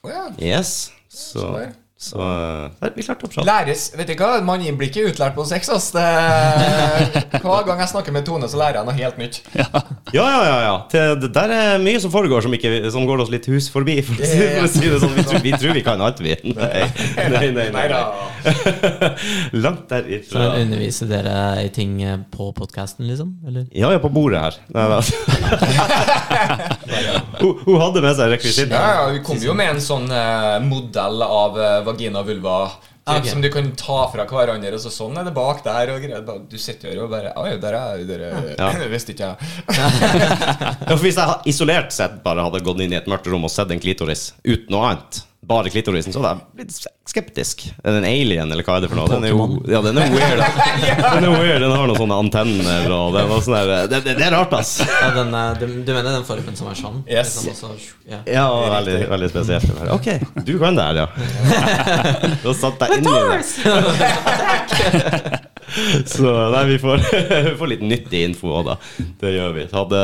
S2: Å ja.
S1: Yes. Så,
S2: der.
S1: Så eh, vi klarte opp sånn.
S2: Læres, vet du hva, Manninnblikk er utlært på sex. Ass. Det, hver gang jeg snakker med Tone, så lærer jeg noe helt nytt.
S1: Ja, ja, ja. ja. Det, det der er mye som foregår som, ikke, som går oss litt hus forbi. For å si, for å si det sånn. Vi tror, vi tror vi kan alt, vi. Nei, nei, nei. nei,
S2: Neida.
S1: [LAUGHS] Langt der
S3: Så
S1: ifra.
S3: underviser dere i ting eh, på podkasten, liksom? Eller?
S1: Ja, ja, på bordet her. Nei, nei. [LAUGHS] hun, hun hadde med seg rekvisitt.
S2: Ja, ja, vi kom jo med en sånn eh, modell av eh, vagina og vulva.
S3: Ah, ok.
S2: Som du kan ta fra hverandre. Og så sånn er det bak der. Og greier. Bare- Du sitter her og bare Oi, der er dere.
S1: Ja.
S2: [LAUGHS] Det visste ikke jeg.
S1: Ja, for hvis jeg ha- isolert sett bare hadde gått inn i et mørkt rom og sett en klitoris uten noe annet, bare klitorisen, så hadde jeg blitt skeptisk. Er det en alien, eller hva er det for noe? Den er jo,
S3: Pokémon.
S1: ja, den er weird. Den er weird, den har noen sånne antenner og den var sånn der, det, det, det er rart, ass.
S3: Ja, den, eh, du, du mener den formen som er sånn?
S2: Yes.
S3: Liksom også, ja.
S1: Ja, veldig, veldig spesielt. Jeg bare, Ok, du kan det her, ja. Da satt jeg inn i det. Så nei, vi får, [LAUGHS] vi får litt nyttig info òg, da. Det gjør vi. Hadde,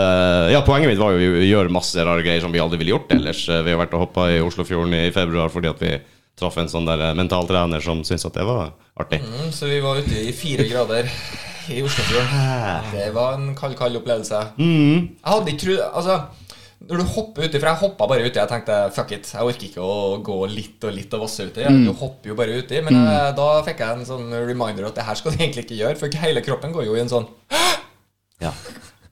S1: ja, poenget mitt var jo å gjøre masse rare greier som vi aldri ville gjort ellers. Eh, Vi har vært og hoppa i Oslofjorden i februar fordi at vi traff en sånn der mental trener som syntes at det var artig.
S2: Mm, så vi var ute i fire grader i
S4: Ah.
S2: Oslofjorden. Det var en kald, kald opplevelse.
S4: Mm.
S2: Jeg hadde ikke trodd Altså, når du hopper uti For jeg hoppa bare uti. Jeg tenkte fuck it, jeg orker ikke å gå litt og litt og vasse uti.
S4: Mm.
S2: Du hopper jo bare uti. Men eh, da fikk jeg en sånn reminder at det her skal du egentlig ikke gjøre, for hele kroppen går jo i en sånn
S1: Ja.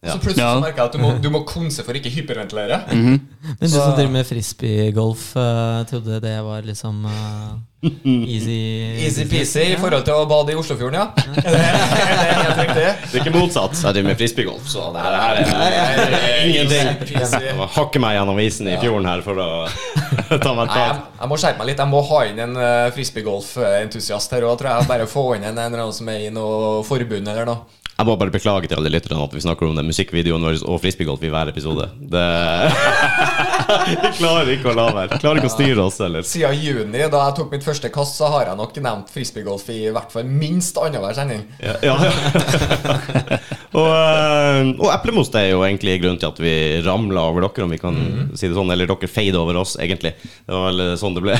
S2: Så plutselig
S4: Ja. Mhm.
S2: så merker jeg at du
S4: [LAUGHS]
S2: må, du må konse for ikke hyperventilere.
S3: Men du som driver med frisbeegolf, eh, trodde det var liksom eh, [LAUGHS] easy
S2: Easy-peasy i forhold til å bade i Oslofjorden,
S4: [LAUGHS]
S2: ja. Er det, er det helt riktig?
S1: Det er ikke motsatt. Jeg driver med frisbeegolf, så det her er- det her er ingenting.
S2: Easy-peasy.
S1: Jeg må hakke meg gjennom isen i fjorden her for å [LAUGHS] ta meg et
S2: Nei, jeg,
S1: tak.
S2: jeg må skjerpe meg litt. Jeg må ha inn en eh, frisbeegolf-entusiast her òg, tror jeg. Bare få inn en, en eller annen som er i noe forbund eller noe.
S1: Jeg må bare beklage til alle lytterne at vi snakker om den musikkvideoen vår og frisbeegolf i hver episode. Det [LAUGHS] Vi klarer ikke å la være. Klarer ikke å styre oss heller.
S2: Siden juni, da jeg tok mitt første kast, så har jeg nok nevnt frisbeegolf i hvert fall minst annenhver sending.
S1: Ja, ja. [LAUGHS] og, eh, og eplemos det er jo egentlig grunnen til at vi ramla over dere, om vi kan
S2: Mhm.
S1: si det sånn. Eller dere feide over oss, egentlig. Det var vel sånn det
S2: [LAUGHS]
S1: ble.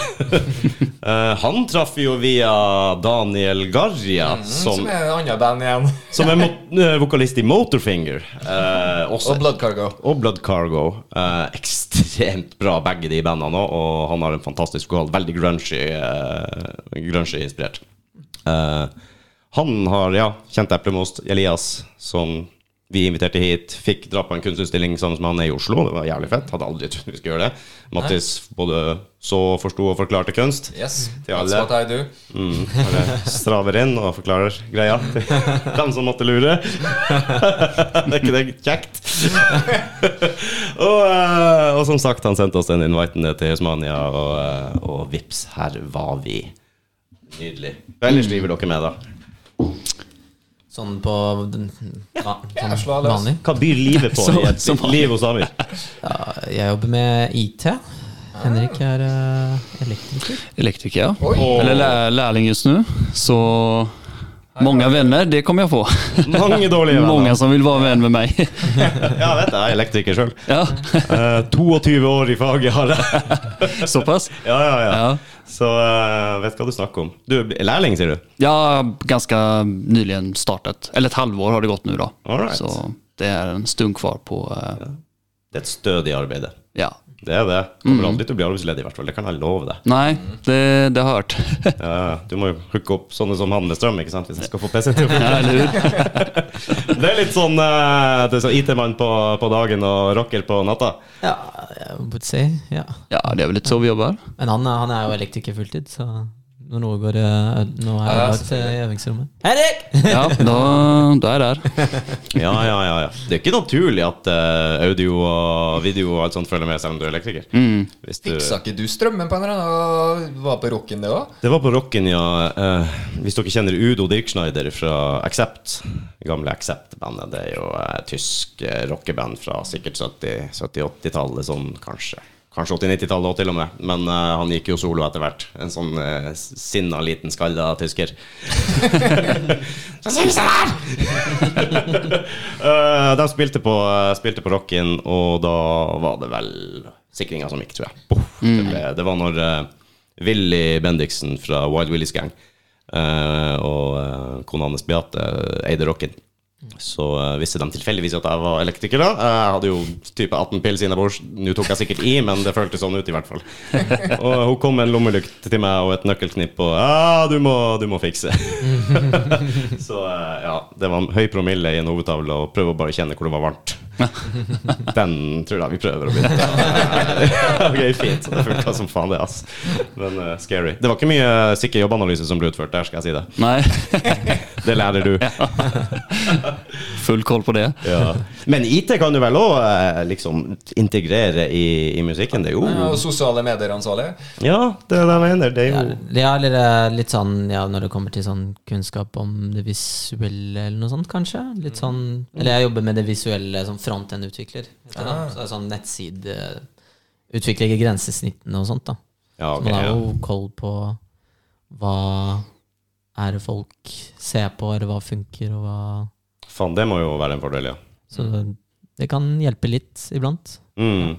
S1: Eh, han traff vi jo via Daniel Garria,
S2: Mhm. Som,
S1: som,
S2: er et annet band igjen.
S1: som er mo- eh, vokalist i Motorfinger. eh, også
S2: Og Blood Cargo.
S1: og Blood Cargo. Eh, ekstremt bra, begge de bandene òg. Og han har en fantastisk vokal. Veldig grungy, eh, grungy inspirert. Eh, han har, ja, kjent eplemost, Elias, som vi inviterte hit. Fikk dra på en kunstutstilling sammen med han er i Oslo. Det var jævlig fett. Hadde aldri trodd vi skulle gjøre det. Mattis både så, forsto og forklarte kunst.
S2: Yes,
S1: Til alle.
S2: that's what I do.
S1: Mm, bare straver inn og forklarer greia til dem som måtte lure. er ikke det kjekt? og, eh, og som sagt, han sendte oss den inviten til Usmania, og, eh, og vips, her var vi. Nydelig. Hva ellers driver dere med, da?
S3: Sånn på den, ja,
S2: jeg slår
S3: sånn
S2: løs.
S3: vanlig.
S1: Hva byr livet på
S4: Som-
S1: i et
S4: som
S1: ditt liv hos Amir?
S3: Ja, jeg jobber med IT. Henrik
S2: Ah.
S3: er eh, elektriker.
S4: Elektriker, ja.
S2: Oi.
S4: Eller lär, lärling just nu. Så många vänner, det kommer jag få.
S1: Mange dårlige
S4: Många
S1: venner.
S4: som vill vara vän med mig. [LAUGHS]
S1: Ja, vet du, jeg er elektriker sjøl. [LAUGHS]
S4: Ja,
S1: 22 år i faget har jeg.
S4: så pass.
S1: Ja, ja, ja.
S4: Ja.
S1: Så eh, vet hva du snakker om. Du er lærling, sier du?
S4: Jag har ganska nyligen startat, eller ett halvår har det gått nu då.
S1: All right.
S4: Så det är en stund kvar på, eh,
S1: Det er et stødig arbeid. det.
S4: ja.
S1: Det er det. Kommer aldri til å bli arbeidsledig, i hvert fall. Det kan jeg love deg.
S4: Nej, det, det har jag hört.
S1: Ja, ja. du må jo hooke opp sånne som han med strøm, ikke sant, hvis jeg skal få PC til å
S4: Ja, [LAUGHS] eller hur?
S1: Det er litt sånn, eh, det er sånn IT-mann på, på dagen og rocker på natta.
S3: Ja, jeg would say. Ja.
S4: Ja, det är väl lite så vi jobbar.
S3: Men han, er- han er jo elektriker fulltid, så når noe går eh, ø- Nå er
S2: Ja, ja,
S3: jeg ødelagt eh, i øvingsrommet. Henrik!
S4: Ja, då, då är det där.
S1: Ja, ja, ja, ja. Det er ikke naturlig at eh, audio og video og alt sånt følger med, selv om du er elektriker. Hvis du,
S2: Fiksa ikke du strømmen på en eller annen? Var på rocken, det òg?
S1: det var på rocken, ja. eh, hvis dere kjenner Udo Dirkschneider fra Accept, gamle Accept-bandet, det er jo eh, tysk eh, rockeband fra sikkert 70-, 70-80-tallet, sånn kanskje. Kanskje 80-90-tallet også, til og med. Men eh, han gikk jo solo etter hvert. En sånn eh, sinna liten skalla tysker. [LAUGHS] Så sier vi sånn her! [LAUGHS] Eh, de spilte på, spilte på Rocken, og da var det vel sikringa som gikk, tror jeg. Poff, det, ble, det var når eh, Willy Bendiksen fra Wild Willys Gang. eh, og eh, kona hans Beate eide rocken. Så eh, visste de tilfeldigvis at jeg var elektriker da. Jeg hadde jo type 18 pils innabords. Nå tok jeg sikkert i, men det føltes sånn ut i hvert fall. Og hun kom med en lommelykt til meg og et nøkkelknipp og ja, du, må- du må fikse. [LAUGHS] Så eh, ja, det var en høy promille i en hovedtavle og prøve å bare kjenne hvor det var varmt. Den tror jeg vi prøver å bytte. [LAUGHS] ok, fint. Det funka som faen, det, ass. Men eh, scary. Det var ikke mye sikker jobbanalyse som ble utført der, skal jeg si det. [LAUGHS]
S4: Nei,
S1: Det lærer du.
S4: full koll på det.
S1: Ja. Men IT kan du vel òg liksom integrere i, i musikken? Det er jo
S2: Og sosiale medier-ansvarlig.
S1: Ja, det er det jeg mener. Det er
S3: Ja,
S1: jo
S3: ja, eller eh, litt sånn ja, når det kommer til sånn kunnskap om det visuelle, eller noe sånt, kanskje. Litt sånn,
S1: Mm.
S3: eller jeg jobber med det visuelle som frontend-utvikler. heter det.
S1: Ah.
S3: Så det er sånn nettsideutvikler i grensesnittene og sånt. da
S1: Ja,
S3: Så
S1: ok,
S3: man har
S1: ja.
S3: jo koll på hva er det folk ser på, eller hva funker, og hva
S1: Faen, det må jo være en fordel, ja.
S3: Så det kan hjelpe litt iblant.
S1: Mm.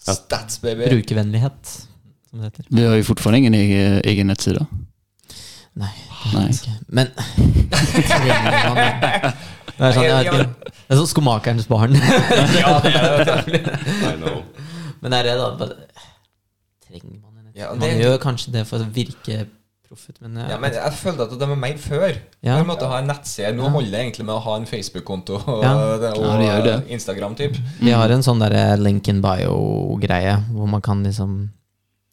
S2: Stats, baby.
S3: Brukervennlighet, som det heter.
S4: Vi har ju fortfarande ingen egen, egen nettsida.
S3: Nei.
S4: Nej.
S3: Ikke. Men [LAUGHS] Det er sånn, jeg vet ikke. Det er sånn skomakerens barn. [LAUGHS]
S2: Ja, det
S1: [LAUGHS]
S2: er det.
S1: I know.
S3: Men det er det, da. bare- Trenger man en
S2: Ja,
S3: nettside?
S2: det-
S3: Man gjør kanskje det for å virke proffet, men,
S2: Ja, men jeg følte at de var mer før.
S3: Ja.
S2: Man måtte ha en nettside. Nå holder det egentlig med å ha en Facebook-konto og, [LAUGHS]
S3: Ja.
S4: Ja, det gjør
S2: og
S4: det.
S2: Instagram, typ.
S3: vi har en sånn derre link in bio-greie, hvor man kan liksom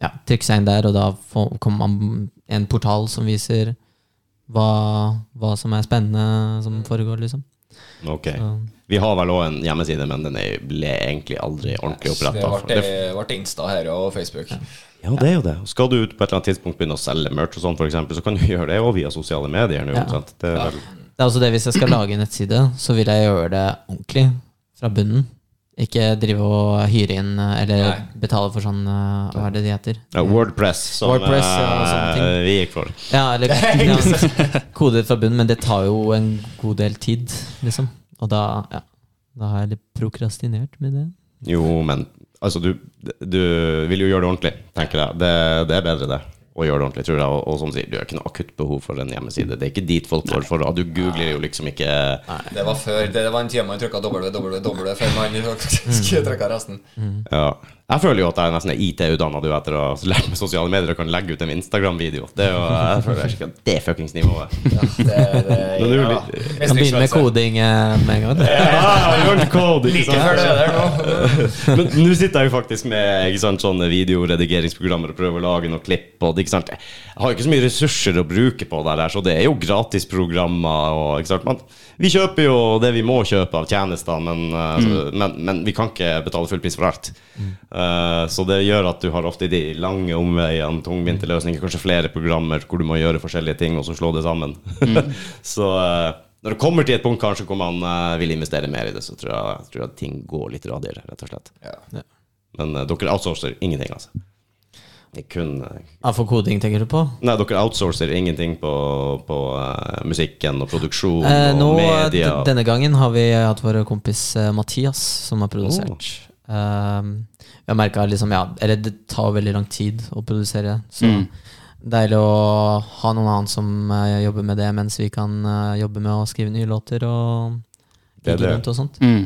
S3: ja, trykke seg inn der, og da får- kommer man en portal som viser hva, hva som er spennende som
S2: Mm.
S3: foregår, liksom.
S1: Ok.
S3: Så-
S1: Vi har vel òg en hjemmeside, men den er- ble egentlig aldri ordentlig
S2: Så det
S1: oppretta.
S2: ble, ble Insta her og Facebook.
S1: Ja, det er jo det. Skal du på et eller annet tidspunkt begynne å selge merch og sånn, for eksempel, så kan du gjøre det òg via sosiale medier. nå,
S3: Ja.
S1: ikke sant? Det er vel,
S3: Det er også det, hvis jeg skal lage en nettside, så vil jeg gjøre det ordentlig. Fra bunnen. Ikke drive og hyre inn eh, eller
S2: Nei.
S3: betale for sånn eh, Hva er det de heter?
S1: ja, Wordpress, som
S3: Wordpress, ja, sånne ting.
S1: eh, vi gikk for.
S3: Ja, eller ja, [LAUGHS] koder fra bunnen, men det tar jo en god del tid, liksom. Og da, ja, da har jeg litt prokrastinert med det.
S1: Jo, men altså, du, du vil jo gjøre det ordentlig, tenker jeg. Det, det er bedre, det. Å gjøre det ordentlig, tror jeg. Og, og som sier, du har ikke noe akutt behov for en hjemmeside. Det er ikke dit folk går for. og Du googler jo liksom ikke
S2: Det var før. Det var en tid man trykka www før man [LAUGHS] faktisk trykka resten.
S1: Ja. Jeg føler jo at jeg nesten er IT-utdanna du etter å ha lært meg sosiale medier og kan legge ut en Instagram-video. Det er jo, jeg føler jeg ikke at det er fuckings nivået.
S2: Ja, det, det,
S1: Men det er jo
S2: ja.
S1: litt-
S3: Kan begynne med koding eh, med en gang. da.
S1: Ja, learned code, ikke
S2: Ikke før det
S1: sant?
S2: der
S1: [LAUGHS]
S2: nå.
S1: Men nå sitter jeg jo faktisk med ikke sant, sånne videoredigeringsprogrammer og prøver å lage noen klipp. Og, det, ikke sant? Jeg har jo ikke så mye ressurser å bruke på det der, så det er jo gratisprogrammer. Og, ikke sant? Man, vi kjøper jo det vi må kjøpe av tjenester, men, eh, altså, men, men vi kan ikke betale full pris for alt. Eh, så det gjør at du har ofte de lange omveiene, tungvinte løsninger, kanskje flere programmer hvor du må gjøre forskjellige ting, og så slå det sammen. [LAUGHS] så eh, når det kommer til et punkt kanskje hvor man eh, vil investere mer i det, så tror jeg, tror jeg ting går litt radigere, rett og slett.
S2: Ja.
S1: Men eh, dere outsourcer ingenting, altså. Det er kun eh,
S3: Ja, for koding tenker du på?
S1: Nei, dere outsourcer ingenting på, på eh, musikken og produksjon
S3: Eh,
S1: og
S3: nå, eh,
S1: media.
S3: d- denne gangen har vi hatt vår kompis eh, Mathias som har produsert.
S1: Oh.
S3: Um, jeg har merket liksom, ja, eller det tar veldig lang tid å produsere. Så
S1: Mm.
S3: deilig å ha noen annen som eh, jobber med det, mens vi kan eh, jobbe med å skrive nye låter og
S1: Det er
S3: gigge
S1: det.
S3: rundt og sånt.
S4: Mm.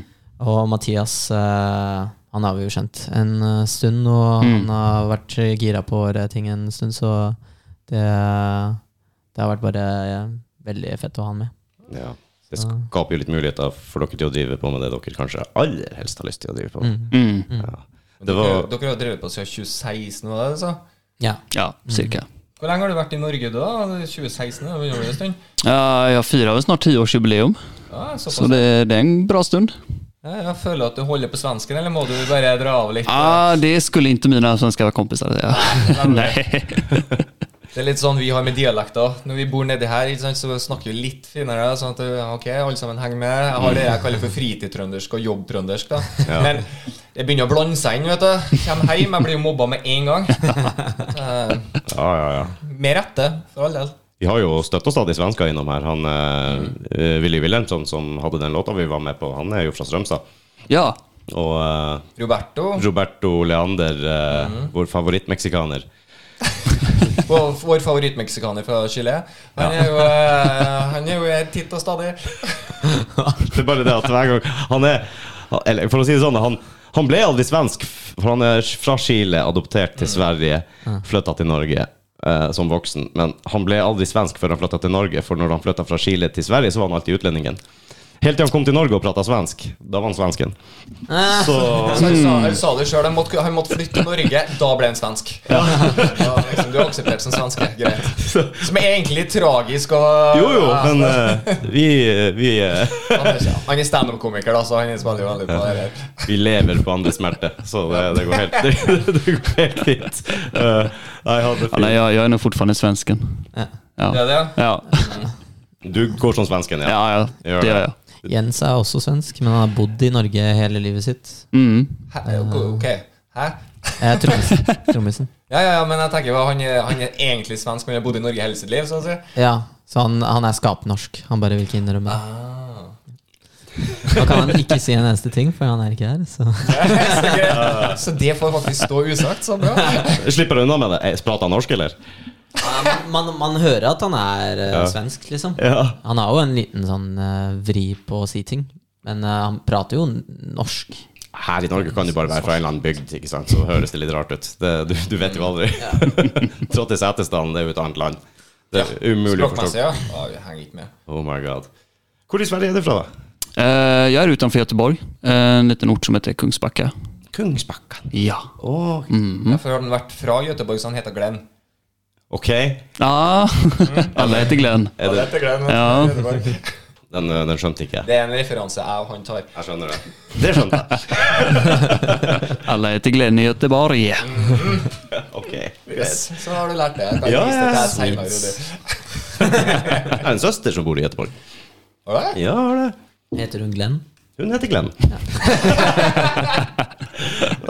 S3: Og Mathias, eh, han har vi jo kjent en eh, stund, og
S1: Mm.
S3: han har vært gira på å gjøre ting en stund, så det, det har vært bare eh, veldig fett å ha han med.
S1: Ja. Det skaper jo litt muligheter for dere til å drive på med det dere kanskje aller helst har lyst til å drive på med.
S4: Mm.
S1: Ja. Det
S2: Dere,
S1: var
S2: dere har drevet på siden 2016, var det det du sa?
S3: Ja.
S4: Ja, cirka.
S2: Hvor lenge har du vært i Norge da? 2016? da, gjorde du det en stund?
S4: Ja, jeg firar väl snart tioårsjubileum,
S2: Ja, såpass.
S4: så det, det är en bra stund.
S2: Ja, jeg føler at du holder på svensken, eller må du bare dra av litt?
S4: Ah, det skulle inte mina svenska kompisar säga. [LAUGHS] Nej.
S2: Det er litt sånn vi har med dialekter. Når vi bor nedi her, ikke sant, så snakker vi litt finere. Sånn at eh, ok, alle sammen henger med. Jeg har det jeg kaller for fritidtrøndersk og jobbtrøndersk. da Men det begynner å blande seg inn. vet du Kommer hjem, jeg blir jo mobba med en gang. Eh,
S1: Ja, ja, ja.
S2: med rette, for all del.
S1: Vi har jo støtt og stadig svensker innom her. Han eh, eh, Willy Wilhelmsson, som hadde den låta vi var med på, han er jo fra Strømstad.
S4: [LAUGHS] Ja,
S1: Og eh,
S2: Roberto.
S1: Roberto Leander, eh, vår favorittmeksikaner.
S2: Vår vår favorittmeksikaner fra Chile. Han er jo, eh, han er jo her titt og stadig.
S1: Det er bare det at hver gang Han er Eller for å si det sånn Han, han ble aldri svensk For han er fra Chile Adoptert til Sverige Flyttet til Norge eh, Som voksen Men han ble aldri svensk Før han flyttet til Norge For når han flyttet fra Chile til Sverige Så var han alltid utlendingen Helt til han kom til Norge og pratet svensk Da var han svensken Så
S2: Så Altså, han sa,
S1: Hmm.
S2: han sa det sjøl, han, måtte- han måtte flytte til Norge. Da ble han svensk. Da, liksom, du er akseptert som svenske. Greit. Som er egentlig litt tragisk. Og,
S1: Jo jo
S2: Ja,
S1: Men eh, vi, vi, eh,
S2: han er ikke- Han er standup-komiker, da, så han spiller jo veldig på det her.
S1: vi lever på andre smerte Så det, det går helt [LAUGHS] Det, det går helt fint Eh, Nei, jeg hadde
S4: Ja, nej, jag, jag är nog fortfarande svensken.
S3: Ja.
S4: Ja.
S2: Det er det.
S4: Ja,
S1: Du går som svensken, ja
S4: ja, ja det gör jag.
S3: Jens er også svensk, men han har bodd i Norge hele livet sitt.
S4: Mm.
S2: Hæ? Ok. Hæ?
S3: Eh, trommisen. [LAUGHS] trommisen.
S2: Ja, ja, ja, men jeg tenker jo, han, er- han er egentlig svensk, men har bodd i Norge hele sitt liv. Så å si.
S3: Ja, så han, han er skapnorsk. Han bare vil ikke innrømme det.
S2: ah.
S3: Nå kan han ikke si en eneste ting, for han er ikke her. [LAUGHS] Så.
S2: så, greit. så det får faktisk stå usagt. Så bra.
S1: Slipper du unna med det? Eh, Prater han norsk, eller?
S3: Man, man hører at han er eh,
S1: Ja.
S3: svensk, liksom.
S1: Ja.
S3: Han har jo en liten sånn eh, vri på å si ting. Men eh, han prater jo n- norsk.
S1: Her i Norge kan du bare være fra en eller annen bygd, ikke sant? så høres det litt rart ut. Det, du, du vet jo aldri. [LAUGHS] Trå til Setesdalen, det er jo et annet land. Det er umulig å
S2: Språkmessig,
S1: forstå.
S2: ja. Ah, jeg henger ikke med.
S1: Oh my god. Hvor i Sverige er du fra, da?
S4: Eh, jag är utanför Göteborg, Eh, en liten ort som heter Kungsbacka.
S1: Kungsbackan.
S4: Ja.
S1: Åh,
S2: Derfor har den vært fra Göteborg, så han heter Glenn.
S1: Ok.
S4: Ja, [LAUGHS] alla heter Glenn.
S1: Er det,
S2: Glenn
S4: Ja.
S1: den, eh, den skjønte ikke jeg.
S2: Det er en referanse jeg og han tar.
S1: Jeg skjønner det. Det skjønte jeg.
S4: Alla heter Glenn i Göteborg.
S2: [LAUGHS]
S1: Ok.
S2: Yes. Så har du lært det. Jeg kan
S1: Ja,
S2: vise det til
S1: ja,
S2: deg senere, Rudi.
S1: Jeg har en søster som bor i Göteborg.
S2: Har du det?
S1: Ja, har det.
S3: Heter hun Glenn?
S1: Hun heter [LAUGHS] Glenn.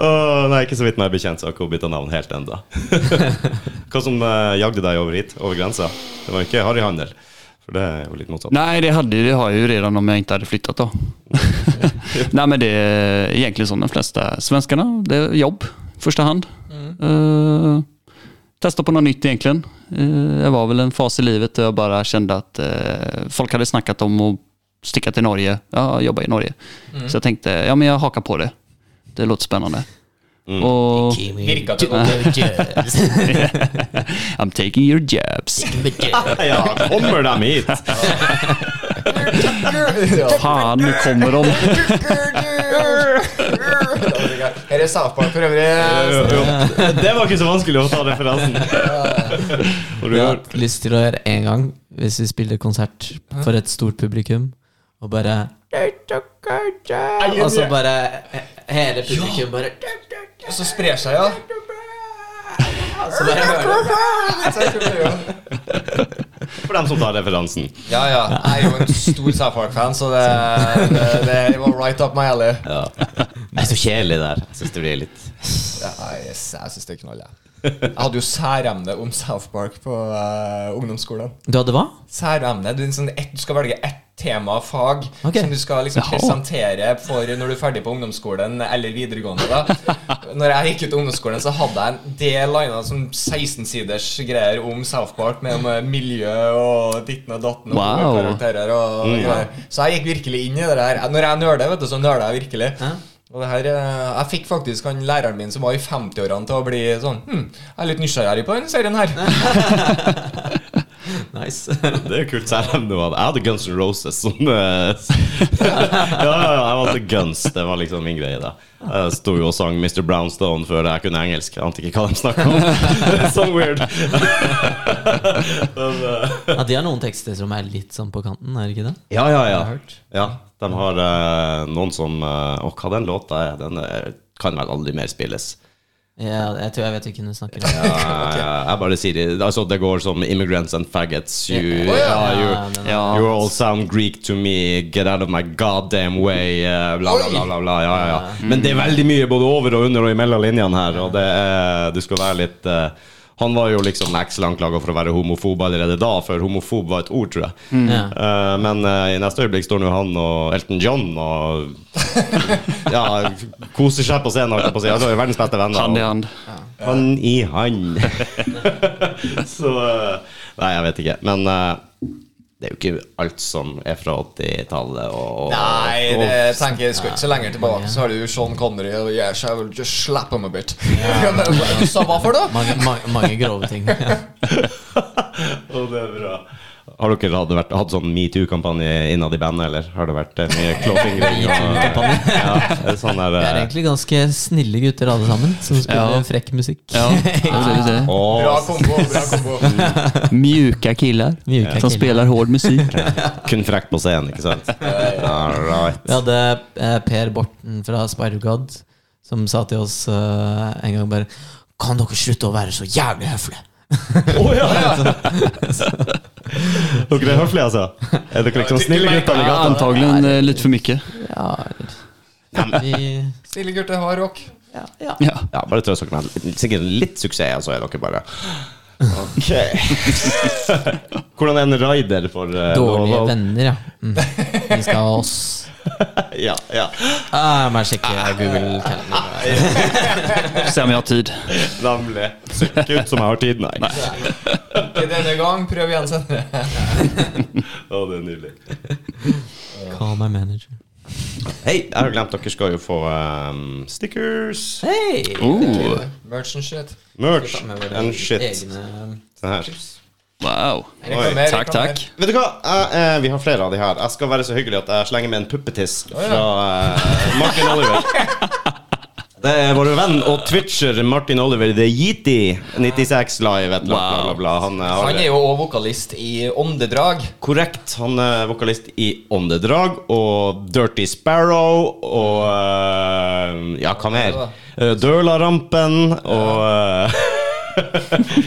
S1: Åh, nei, ikke så vidt meg bekjent, så har ikke hun bytta navn helt ennå. [LAUGHS] Hva som eh, jagde deg over hit, over grensa? Det var ikke harryhandel? For det er jo litt motsatt.
S4: Nej, det, hade, det har jag ju redan om jag inte hade flyttat då. [LAUGHS] Nej, men det är egentligen som de flesta svenskarna. Det är jobb i första hand. Eh, testa på något nytt egentligen. Eh, jag var väl en fas i livet där jag bara kände att eh, folk hade snackat om att sticka till Norge. Ja, jobba i Norge. Så jag tänkte, ja men jag hakar på det. Det låter spännande. Mm. Och
S2: Virka det godt?
S4: [LAUGHS]
S3: [LAUGHS]
S4: I'm taking your jobs.
S1: Ja, kommer de hit?
S2: Ja.
S4: Fan, nu kommer [LAUGHS] de.
S2: [LAUGHS] Her er South Park for øvrig.
S1: [LAUGHS]
S2: eh,
S1: Jo, jo. Det var ikke så vanskelig å ta referansen. Har du
S3: Jeg har
S1: hørt?
S3: hatt lyst til å gjøre én gang, hvis vi spiller konsert for et stort publikum, og bare Og så bare he- hele publikum bare
S2: Og så sprer seg, ja.
S3: Så bare
S1: For dem som tar referansen.
S2: Ja, ja. Jeg er jo en stor South Park-fan, så det, det, det var right up my alley.
S1: Ja. Jeg er så kjedelig der. Jeg syns det blir litt
S2: Ja, jeg jeg syns det er knall, jeg. Jeg hadde jo særemne om South Park på eh, ungdomsskolen.
S3: Du hadde hva?
S2: Særemne. Du, er en sånn, ett- du skal velge ett tema fag
S3: Ok.
S2: som du skal liksom
S4: Jaha.
S2: presentere for når du er ferdig på ungdomsskolen eller videregående.
S4: [LAUGHS]
S2: da Når jeg gikk ut av ungdomsskolen, så hadde jeg en del liner som 16-siders greier om South Park, med om eh, miljø og ditten og datten. Og
S4: Wow. Mm.
S2: karakterer og greier. Så jeg gikk virkelig inn i det der. Når jeg nøler, vet du, så nøler jeg virkelig.
S3: Ja.
S2: Og det her, eh, Jeg fikk faktisk han læreren min som var i 50-årene til å bli sånn hm, Jeg er litt nysgjerrig på denne serien her.
S3: Nice.
S1: Det er jo kult, selv om det var Jeg hadde Guns N' Roses som eh, [LAUGHS] Ja, ja, ja, jeg valgte Guns. Det var liksom min greie, da. Jeg sto jo og sang Mr. Brownstone før jeg kunne engelsk. Jeg ante ikke hva de snakka om. [LAUGHS] Sånn weird. Men, eh,
S3: [LAUGHS] Ja, de har noen tekster som er litt sånn på kanten, er det ikke det?
S1: ja, ja, ja.
S3: Har jeg hørt.
S1: ja de har eh, noen som eh, Å, hva den låta er? Den eh, kan vel aldri mer spilles.
S3: Ja, jeg tror jeg vet hvilken du snakker om.
S1: Eh, jeg bare sier det. Altså, det går som 'Immigrants and faggots'. You,
S2: Å, ja.
S1: ja, you,
S3: Ja, den-
S4: Ja.
S1: You all sound Greek to me. Get out of my goddamn way. eh, Bla, bla, bla, bla, bla. Ja, ja, ja. Men det er veldig mye både over og under og imellom linjene her. Og det er, du skal være litt eh, Han var jo liksom Axel anklaga for å være homofob allerede da, for homofob var et ord, tror jeg.
S2: Mm.
S3: Ja.
S1: Eh, men eh, i neste øyeblikk står nå han og Elton John
S2: [LAUGHS]
S1: og Ja, koser seg på scenen, holdt jeg på å si. Altså, verdens beste venner.
S4: Hand i
S1: og-
S4: hand.
S1: Han i han. [LAUGHS] så eh, Nei, jeg vet ikke. Men eh, det er jo ikke alt som er fra 80-tallet og, og
S2: Nei,
S1: og-
S2: det tenker jeg skal ikke så lenger tilbake. Så har du Sean Connery og Yes, I will just slap him a bit. [LAUGHS] Du sa hva for noe?
S3: Mange, mange, mange grove ting. Ja.
S1: Å, det er bra. Har dere hatt, vært, hatt sånn metoo-kampanje innad i bandet, eller har det vært eh, mye klåfingring? og- ja, det er sånn der,
S3: Det er
S1: eh,
S3: egentlig ganske snille gutter alle sammen, som spiller
S4: Ja.
S3: frekk musikk. [LAUGHS]
S4: Ja, det är det.
S1: å,
S2: Bra kombo. bra kombo
S4: Mjuka killar
S3: Mjuka
S4: som
S3: killar.
S4: spelar hård [LAUGHS] musik.
S1: kun frekt på scenen, ikke sant? All right.
S3: Vi hadde eh, Per Borten fra Spider-God som sa til oss eh, en gang bare Kan dere slutte å være så jævlig høflige?
S1: [LAUGHS] Dere er høflige, altså? Er dere liksom snille gutter? eller?
S4: Ja, antagligen eh, lite för mycket.
S3: Ja, eller vi, [LAUGHS]
S2: Stille gutter, hard rock.
S3: ja, ja.
S4: Ja.
S1: Ja, bare trøst dere med sikkert litt suksess, og så er dere bare Ok. [LAUGHS] Hvordan er en rider for eh,
S3: Dårlige
S1: Volvo?
S3: venner, ja. Mm. Vi skal ha oss.
S1: Ja, ja.
S3: Ah, må jeg sjekke Google Calendar.
S4: Se om jag har tid.
S1: Nemlig. Ser ikke ut som jeg har tid, nei.
S2: Ikke denne gang, prøv igjen senere. [LAUGHS]
S1: Å, det er nydelig.
S3: Call my manager.
S1: Hei, jeg har glemt dere skal jo få ehm, stickers,
S3: Hei!
S4: Oh,
S2: Merch and shit.
S1: merch and shit.
S3: Egne eh,
S1: Se her.
S4: wow.
S2: Reklamer,
S4: Tack,
S2: reklamer.
S4: tack.
S1: Vet du hva? Jeg, eh, vi har flere av de her. Jeg skal være så hyggelig at jeg slenger med en puppetiss fra eh, Martin Oliver. Det er vår venn og twitcher Martin Oliver The Yeti 96 Live. Et eller annet, bla, bla, bla. Han, eh, har-
S2: Han er jo òg vokalist i Åndedrag.
S1: Korrekt. Han er vokalist i Åndedrag og Dirty Sparrow og eh, Ja, hva mer? Eh, Dølarampen og eh,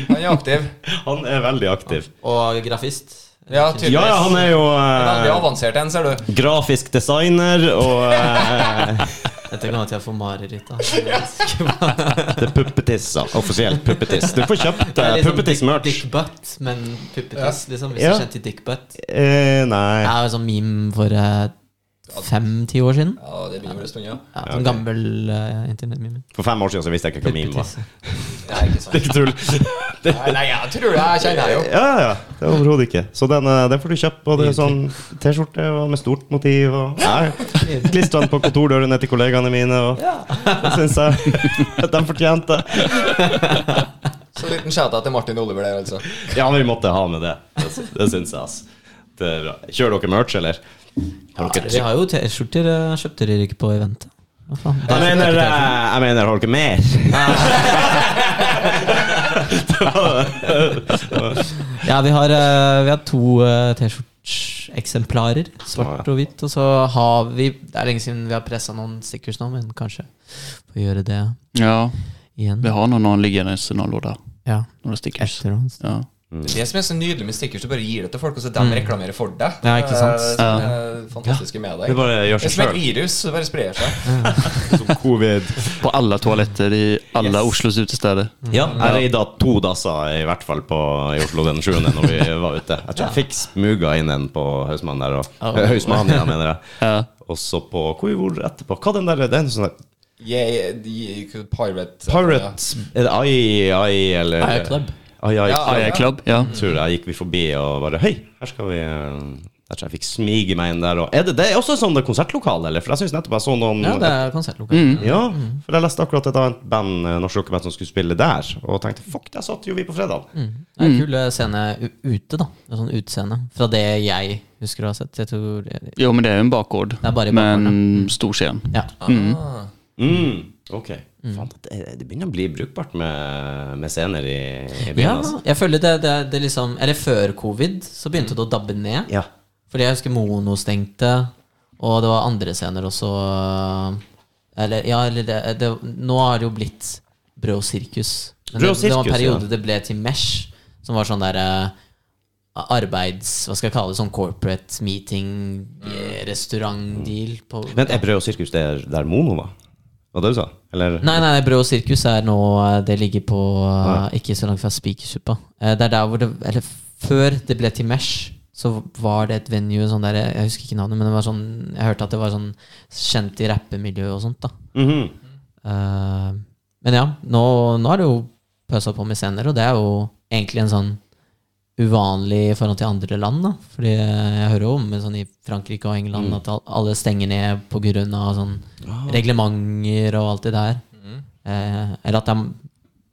S2: Han er aktiv.
S1: [LAUGHS] Han er veldig aktiv.
S3: Og grafist.
S2: Ja, tydeligvis.
S1: Ja, ja, han er jo
S2: Veldig
S1: eh,
S2: avansert en, ser du.
S1: grafisk designer og eh,
S3: Dette kan at jeg får mareritt
S1: [LAUGHS]
S3: av. Det er
S1: Det er puppetiss, da. Offisielt puppetiss. Du får kjøpt uh,
S3: liksom
S1: puppetiss-merch.
S3: Dick Butt, men puppetiss, liksom. Hvis
S1: Ja.
S3: du kjente Dick Butt.
S1: Eh, nei.
S3: Det er jo sånn meme for eh, fem-ti år siden.
S2: Ja, det begynner å bli en stund, ja.
S3: Ja, sånn gammel uh, internettmeme.
S1: For fem år siden så visste jeg ikke hva meme var.
S3: Puppetiss.
S2: Nei, ikke sant.
S1: Det er ikke tull. Det,
S2: Nei, nei, jeg tror det. Jeg kjenner deg jo.
S1: [LAUGHS] ja, ja. Det er overhodet ikke. Så den, eh, den får du kjøpt. Og det er sånn T-skjorte og med stort motiv. Og, nei. Klistra den på kontordøren ned til kollegaene mine, og det syns jeg [LAUGHS] at de fortjente.
S2: Så liten shout-out til Martin Oliver der, altså.
S1: Ja, vi måtte ha med det. Det, sy- det syns jeg, ass. Det er bra. Kjører dere merch, eller? Har dere
S3: Vi har jo T-skjorter. eh, Kjøpte dere ikke på eventet? Hva faen?
S1: Jeg
S3: Det er-
S1: mener,
S3: det er ikke
S1: eh, jeg mener har dere mer?
S3: T-skjorter. Ja, vi har, eh, vi har to eh, T-skjorteeksemplarer. Svart
S1: Ja.
S3: og hvitt. Og så har vi Det er lenge siden vi har pressa noen stickers nå, men kanskje får gjøre det
S4: Ja, vi
S3: igjen.
S4: har nog någon liggandes i någon låda.
S3: Ja,
S4: Några stickers.
S3: etter oss.
S4: Ja.
S2: Det som er så nydelig med stickers, du bare gir det til folk, og så de reklamerer for deg.
S3: Ja, ikke sant?
S2: Eh, som er fantastiske med deg.
S1: Det bare gjør
S2: Det
S1: seg
S2: er som et
S1: selv.
S2: virus, det bare sprer seg.
S1: Som Ah. [LAUGHS] covid.
S4: På alla toaletter i alla Oslos utesteder.
S1: Ja, jeg reida to dasser i hvert fall på, i Oslo den sjuende når vi var ute. Jeg tror jeg fikk smuga inn en på Hausmann der. Og, Hausmann, ja, mener jeg.
S4: Ja.
S1: Og så på Hvor vi var etterpå? Hva den der Det er en sånn der
S2: Jeg, de, pirate
S1: Pirates Er det Ai Ai, eller
S3: Ai Club.
S1: Ai Ai
S2: Ja.
S1: Club.
S4: Aja Club, ja.
S1: Tror jeg gikk vi forbi og bare Hei, her skal vi eh, Jeg tror jeg fikk smige meg inn der. Og, er det, det er også sånn det konsertlokale, eller? For jeg syns nettopp jeg så noen
S3: Ja, det er Mm. konsertlokale.
S1: Ja, for jeg leste akkurat et annet band, eh, norsk rockeband, som skulle spille der, og tenkte fuck, der satt jo vi på fredag.
S3: Det er en kul eh, scene u- ute, da. En sånn utseende. Fra det jeg husker å ha sett. Jeg tror
S4: Jo, men det är en bakgård.
S3: är bara i
S4: men stor scen.
S3: Ja.
S1: Mm. Ok. Faen, det, det begynner å bli brukbart med, med scener i, i byen.
S3: ja
S1: Altså. Mm.
S3: jeg føler det, det, det liksom Eller før covid så begynte det å dabbe ned.
S1: Ja.
S3: Fordi jeg husker Mono stengte, og det var andre scener også. øh, Eller ja, eller det, det Nå har det jo blitt Brød og sirkus. Men
S1: Brød og
S3: det, det var en
S1: sirkus, ja.
S3: periode det ble til Mesh, som var sånn der eh, arbeids... Hva skal jeg kalle det? Sånn corporate meeting,
S1: Mm.
S3: eh, restaurantdeal på
S1: Vent, er Brød og sirkus der, der Mono var? Var det du sa? Eller?
S3: Nei, nei, nei, Brød og sirkus er nå eh, Det ligger på eh, Ikke så langt fra Spikersuppa. Eh, Det er der hvor det Eller før det ble til Mesh, så var det et venue sånn der Jeg husker ikke navnet, men det var sånn Jeg hørte at det var sånn kjent i rappemiljøet og sånt, da.
S1: Mhm.
S3: Eh, Men ja, nå, nå er det jo pøsa på med scener, og det er jo egentlig en sånn uvanlig i forhold til andre land. da Fordi jeg hører jo om sånn i Frankrike og England
S1: Mm.
S3: at al- alle stenger ned pga. sånn
S1: Ah.
S3: reglementer og alt det der. Eh, eller at de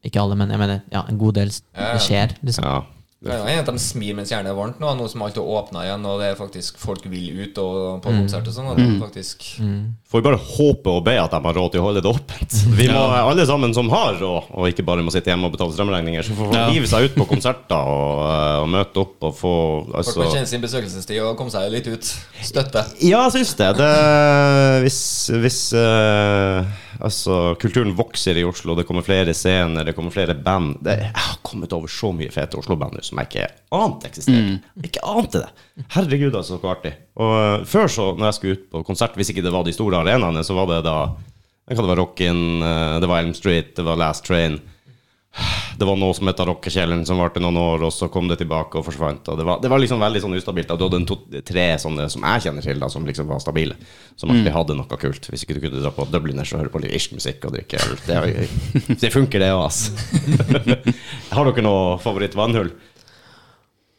S3: Ikke alle, men jeg mener ja, en god del s-
S2: Ja, ja.
S3: det skjer. Liksom.
S1: Ja.
S2: Det er jo en at de smir mens jernet er varmt nå, nå som alt er åpna igjen, og det er faktisk folk vil ut og på konsert og sånn. Og det er faktisk
S1: Får vi bare håpe og be at de har råd til å holde det åpent. Vi må alle sammen som har råd, og ikke bare må sitte hjemme og betale strømregninger, så får folk
S4: Ja.
S1: hive seg ut på konserter og, eh, og møte opp og få
S2: Folk
S1: altså,
S2: må kjenne sin besøkelsestid og komme seg litt ut. Støtte.
S1: Ja, jeg syns det. det hvis hvis eh, altså, kulturen vokser i Oslo, det kommer flere scener, det kommer flere band det, Jeg har kommet over så mye fete Oslo-band nå som jeg ikke ante eksisterer. Ikke ante det. Herregud, altså, så artig. Og eh, før, så, når jeg skulle ut på konsert, hvis ikke det var de store arenaene, så var det da det kan det være Rockin, eh, det var Elm Street, det var Last Train. Det var noe som het Rockekjelleren, som varte noen år, og så kom det tilbake og forsvant. Og det, var, det var liksom veldig sånn ustabilt. da. Du hadde en to, tre sånne som jeg kjenner til, da, som liksom var stabile.
S4: Mm.
S1: Som alltid hadde noe kult. Hvis ikke du kunne dra på Dubliners og høre på litt irsk musikk og drikke øl. Det, er- det funker, det òg, ass. [LAUGHS] Har dere noe favoritt-vannhull?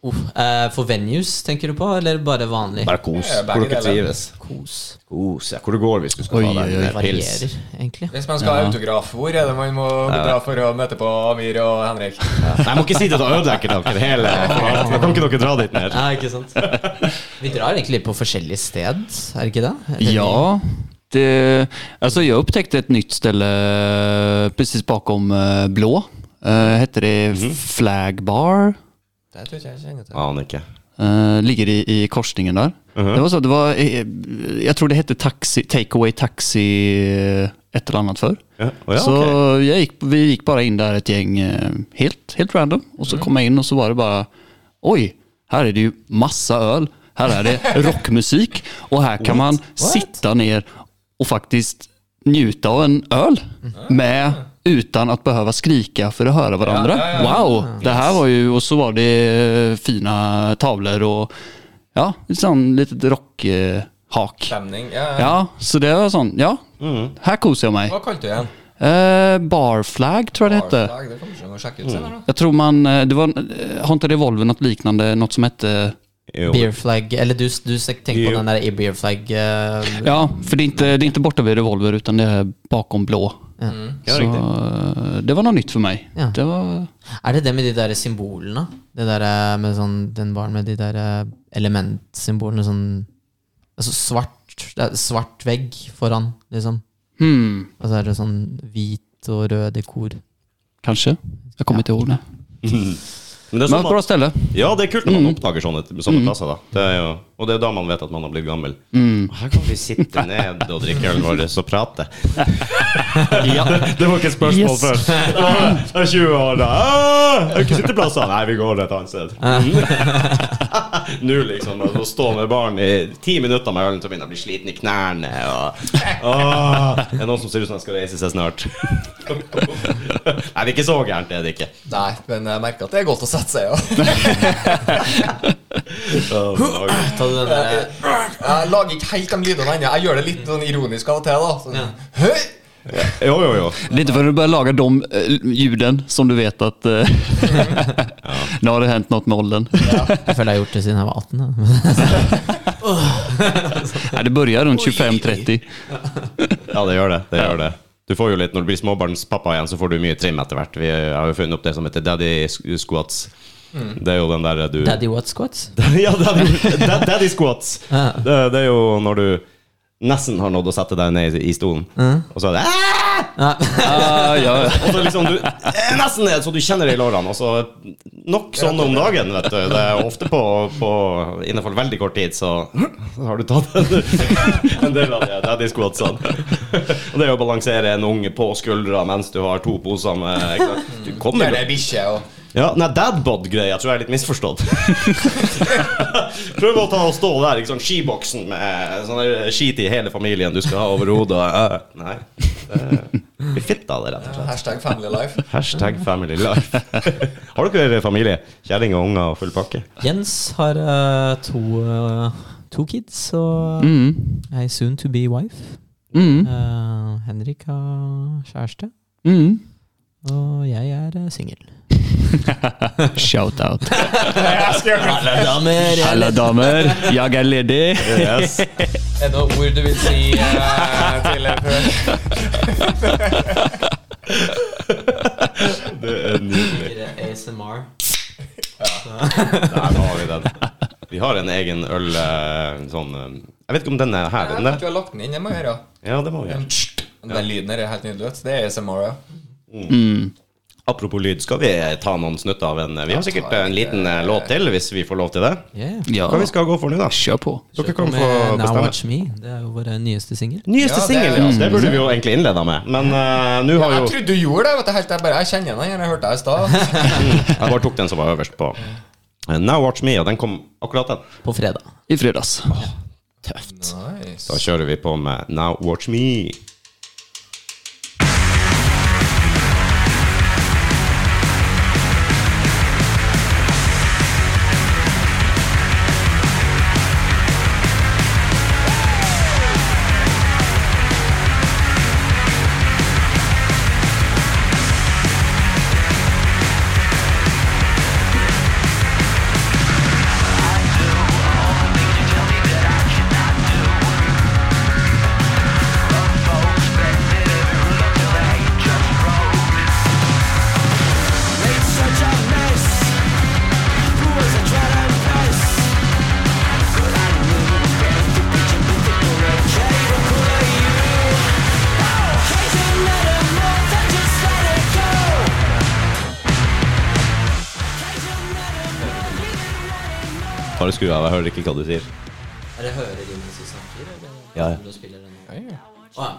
S3: Uff, eh, for venues, tenker du på, eller bare vanlig?
S1: Bare kos.
S2: Ja,
S1: Hvor
S2: begge
S1: dere
S2: deler.
S1: trives.
S3: kos.
S1: Kos, ja. Hvor du går hvis du skal
S4: Oi,
S1: ta
S4: oi,
S1: deg
S4: oi.
S1: en pils.
S3: Varierer, egentlig.
S2: Hvis man skal ha autograf, hvor er det man må dra for å møte på Amir og Henrik?
S1: Nei, jeg må ikke si det, da ødelegger dere
S4: [LAUGHS]
S1: hele Da kan ikke dere dra dit mer.
S3: Ja, ikke sant. [LAUGHS] Vi drar egentlig litt på forskjellig sted, er det ikke det? Eller-
S4: Ja. Det, alltså jag upptäckte ett nytt ställe precis bakom eh, Blå. Eh, hette det Flag Bar.
S2: Det tror ikke jeg kjenner til.
S1: Aner ikke.
S4: Eh, ligger i, i korsningen där.
S1: Uh-huh.
S4: Det var så, det var, eh, jag tror det hette taxi, Takeaway Taxi eh, ett eller annat förr.
S1: Ja, å ja,
S4: så
S1: ok.
S4: jag gick, vi gick bara in där ett gäng eh, helt, helt random. Och
S1: Mhm.
S4: så kom jag in och så var det bara oj, här är det ju massa öl. Här är
S1: [LAUGHS]
S4: det rockmusik och här kan man sitta ner och faktiskt njuta av en öl med utan att behöva skrika för att höra varandra.
S2: Ja, ja, ja.
S4: Wow, det här var ju, och så var det eh, fina tavlor och ja, ett sånt litet rockhak.
S2: Stemning? Ja. Mm. ja.
S4: Ja, så det var sånn, ja, här kosar jag mig.
S2: Hva kalte du igjen?
S4: Eh, barflag tror jag det hette.
S2: Barslag, Det kommer ikke noe å sjekke ut senere. da.
S4: Jag tror man, eh, det var, eh, har inte Revolver något liknande, något som hette
S1: Jo.
S3: Beer flag, eller du, du tenker på den der i beer flag eh,
S4: Ja, för det är, inte, det är inte borta vid Revolver utan det är bakom blå.
S1: Ja,
S4: Så,
S1: riktig.
S4: eh, det var något nytt för mig.
S3: Ja.
S4: Det var,
S3: Er det det med de der symbolene? Det der eh, med sånn, den baren med de der eh, elementsymbolene sånn Altså svart det er Svart vegg foran, liksom.
S4: hmm,
S3: Og så er det sånn hvit og rød dekor.
S4: kanske. Jag kommer inte ihåg det.
S1: Men det er sånn
S4: Men ett bra ställe.
S1: Ja, det er kult når man oppdager sånne, sånne plasser. da det er jo, Og det er da man vet at man har blitt gammel. Her kan vi sitte ned og drikke ølen vår og [LAUGHS] prate. Det var ikke et spørsmål
S4: Yes.
S1: før. Det er 20 år, da. Ah, Jeg har ikke sitteplasser. Nei, vi går et annet sted. Nå, liksom. Å stå med barn i ti minutter med ølen til å begynne å bli sliten i knærne. Og, ah, det er noen som ser ut som de skal reise seg snart. [LAUGHS] Nei, det er ikke så gærent, det er det ikke.
S2: Nei, men jeg merker at det er godt å sette seg, [LAUGHS] ja.
S1: Å, Gud.
S3: Ta du den der, eh,
S2: Jeg lager ikke helt de lydene ennå. Jeg gjør det litt sånn ironisk av og til, da. Sånn, Høy!
S1: Jo, jo, jo.
S4: Det är inte förrän du börjar laga de eh, ljuden som du vet att [LAUGHS] eh, [LAUGHS] nu har det hänt något med åldern. [LAUGHS]
S3: Jeg føler jeg har gjort det siden jeg var 18. da. [LAUGHS]
S4: Nej, det börjar runt 25-30.
S1: Ja, det gjør det. det, gjør det. Du får jo litt, Når du blir småbarnspappa igjen, så får du mye trim etter hvert. Vi har jo funnet opp det som heter daddy sk- squats. Det er jo den der du
S3: Daddy what squats?
S1: [LAUGHS] Ja, daddy, da- daddy squats. Det, det er jo når du nesten har nådd å sette deg ned i stolen, og så er det "Ah!"
S4: Ah, ja.
S1: og så liksom du eh, Nesten ned, så du kjenner det i lårene. Og så nok sånn om dagen, vet du. Det er ofte på, på innenfor veldig kort tid, så, så har du tatt en, en del av de daddy squatsene. sånn. Og det er jo å balansere en unge på skuldra mens du har to poser med ikke sant? Du kommer
S2: Gjør det bikkje og
S1: ja, Nei, dadbod-greia tror jeg er litt misforstått. Prøv å ta og stå der, ikke sånn skiboksen med sånn der skit i hele familien du skal ha over hodet. Eh, Nei. Det blir fitt av det, rett og slett.
S2: hashtag family life.
S1: Hashtag family life. Har dere familie? Kjerring og unger og full pakke?
S3: Jens har eh, to, eh, to kids og
S4: Mm.
S3: ei soon to be wife.
S4: Mm.
S3: Eh, Henrik har kjæreste.
S4: Mm.
S3: Og jeg er eh, singel.
S4: [LAUGHS] Shout-out.
S3: Alle damer!
S4: Alle damer, jeg er [LAUGHS] ledig.
S1: Yes.
S2: Er det noen ord du vil si eh, til eh, før?
S1: Det er nydelig.
S3: ASMR.
S1: Der har vi den. Vi har en egen øl eh, sånn eh, Jeg vet ikke om den er her, er den
S2: Jeg vet ikke, Du
S1: der?
S2: har lagt den inn, det må jeg gjøre.
S1: Ja, det må vi gjøre.
S2: Den, den lyden her er helt nydelig. vet du. Det er ASMR. ja.
S4: Mm.
S1: Apropos lyd, skal vi ta noen snutt av en Vi har sikkert en liten eh, låt til, hvis vi får lov til det.
S3: Yeah.
S4: Ja,
S1: Hva vi skal gå for nå, da?
S4: kjør på.
S1: Dere kan få
S3: Med Now
S1: bestemme.
S3: Watch Me. Det er jo vår nyeste singel.
S1: Nyeste
S2: Ja, det-
S1: singel, ja. Det burde vi jo egentlig innleda med. Men eh, nå har vi
S2: Jeg
S1: jo
S2: trodde du gjorde det. vet du, helt til Jeg bare, jeg kjenner den igjen. Jeg hørte deg i [LAUGHS] stad.
S1: [LAUGHS] Jeg bare tok den som var øverst på. Eh, Now Watch Me, og den kom akkurat den.
S3: På fredag.
S4: I fredags.
S1: Tøft. Da
S2: Nice.
S1: kjører vi på med Now Watch Me. Bare skru av, jeg hører ikke hva du sier.
S3: Er det hører de mens vi snakker, eller
S1: Ja, ja.
S3: du spiller den?
S2: Ja, ja.
S3: Å, ja.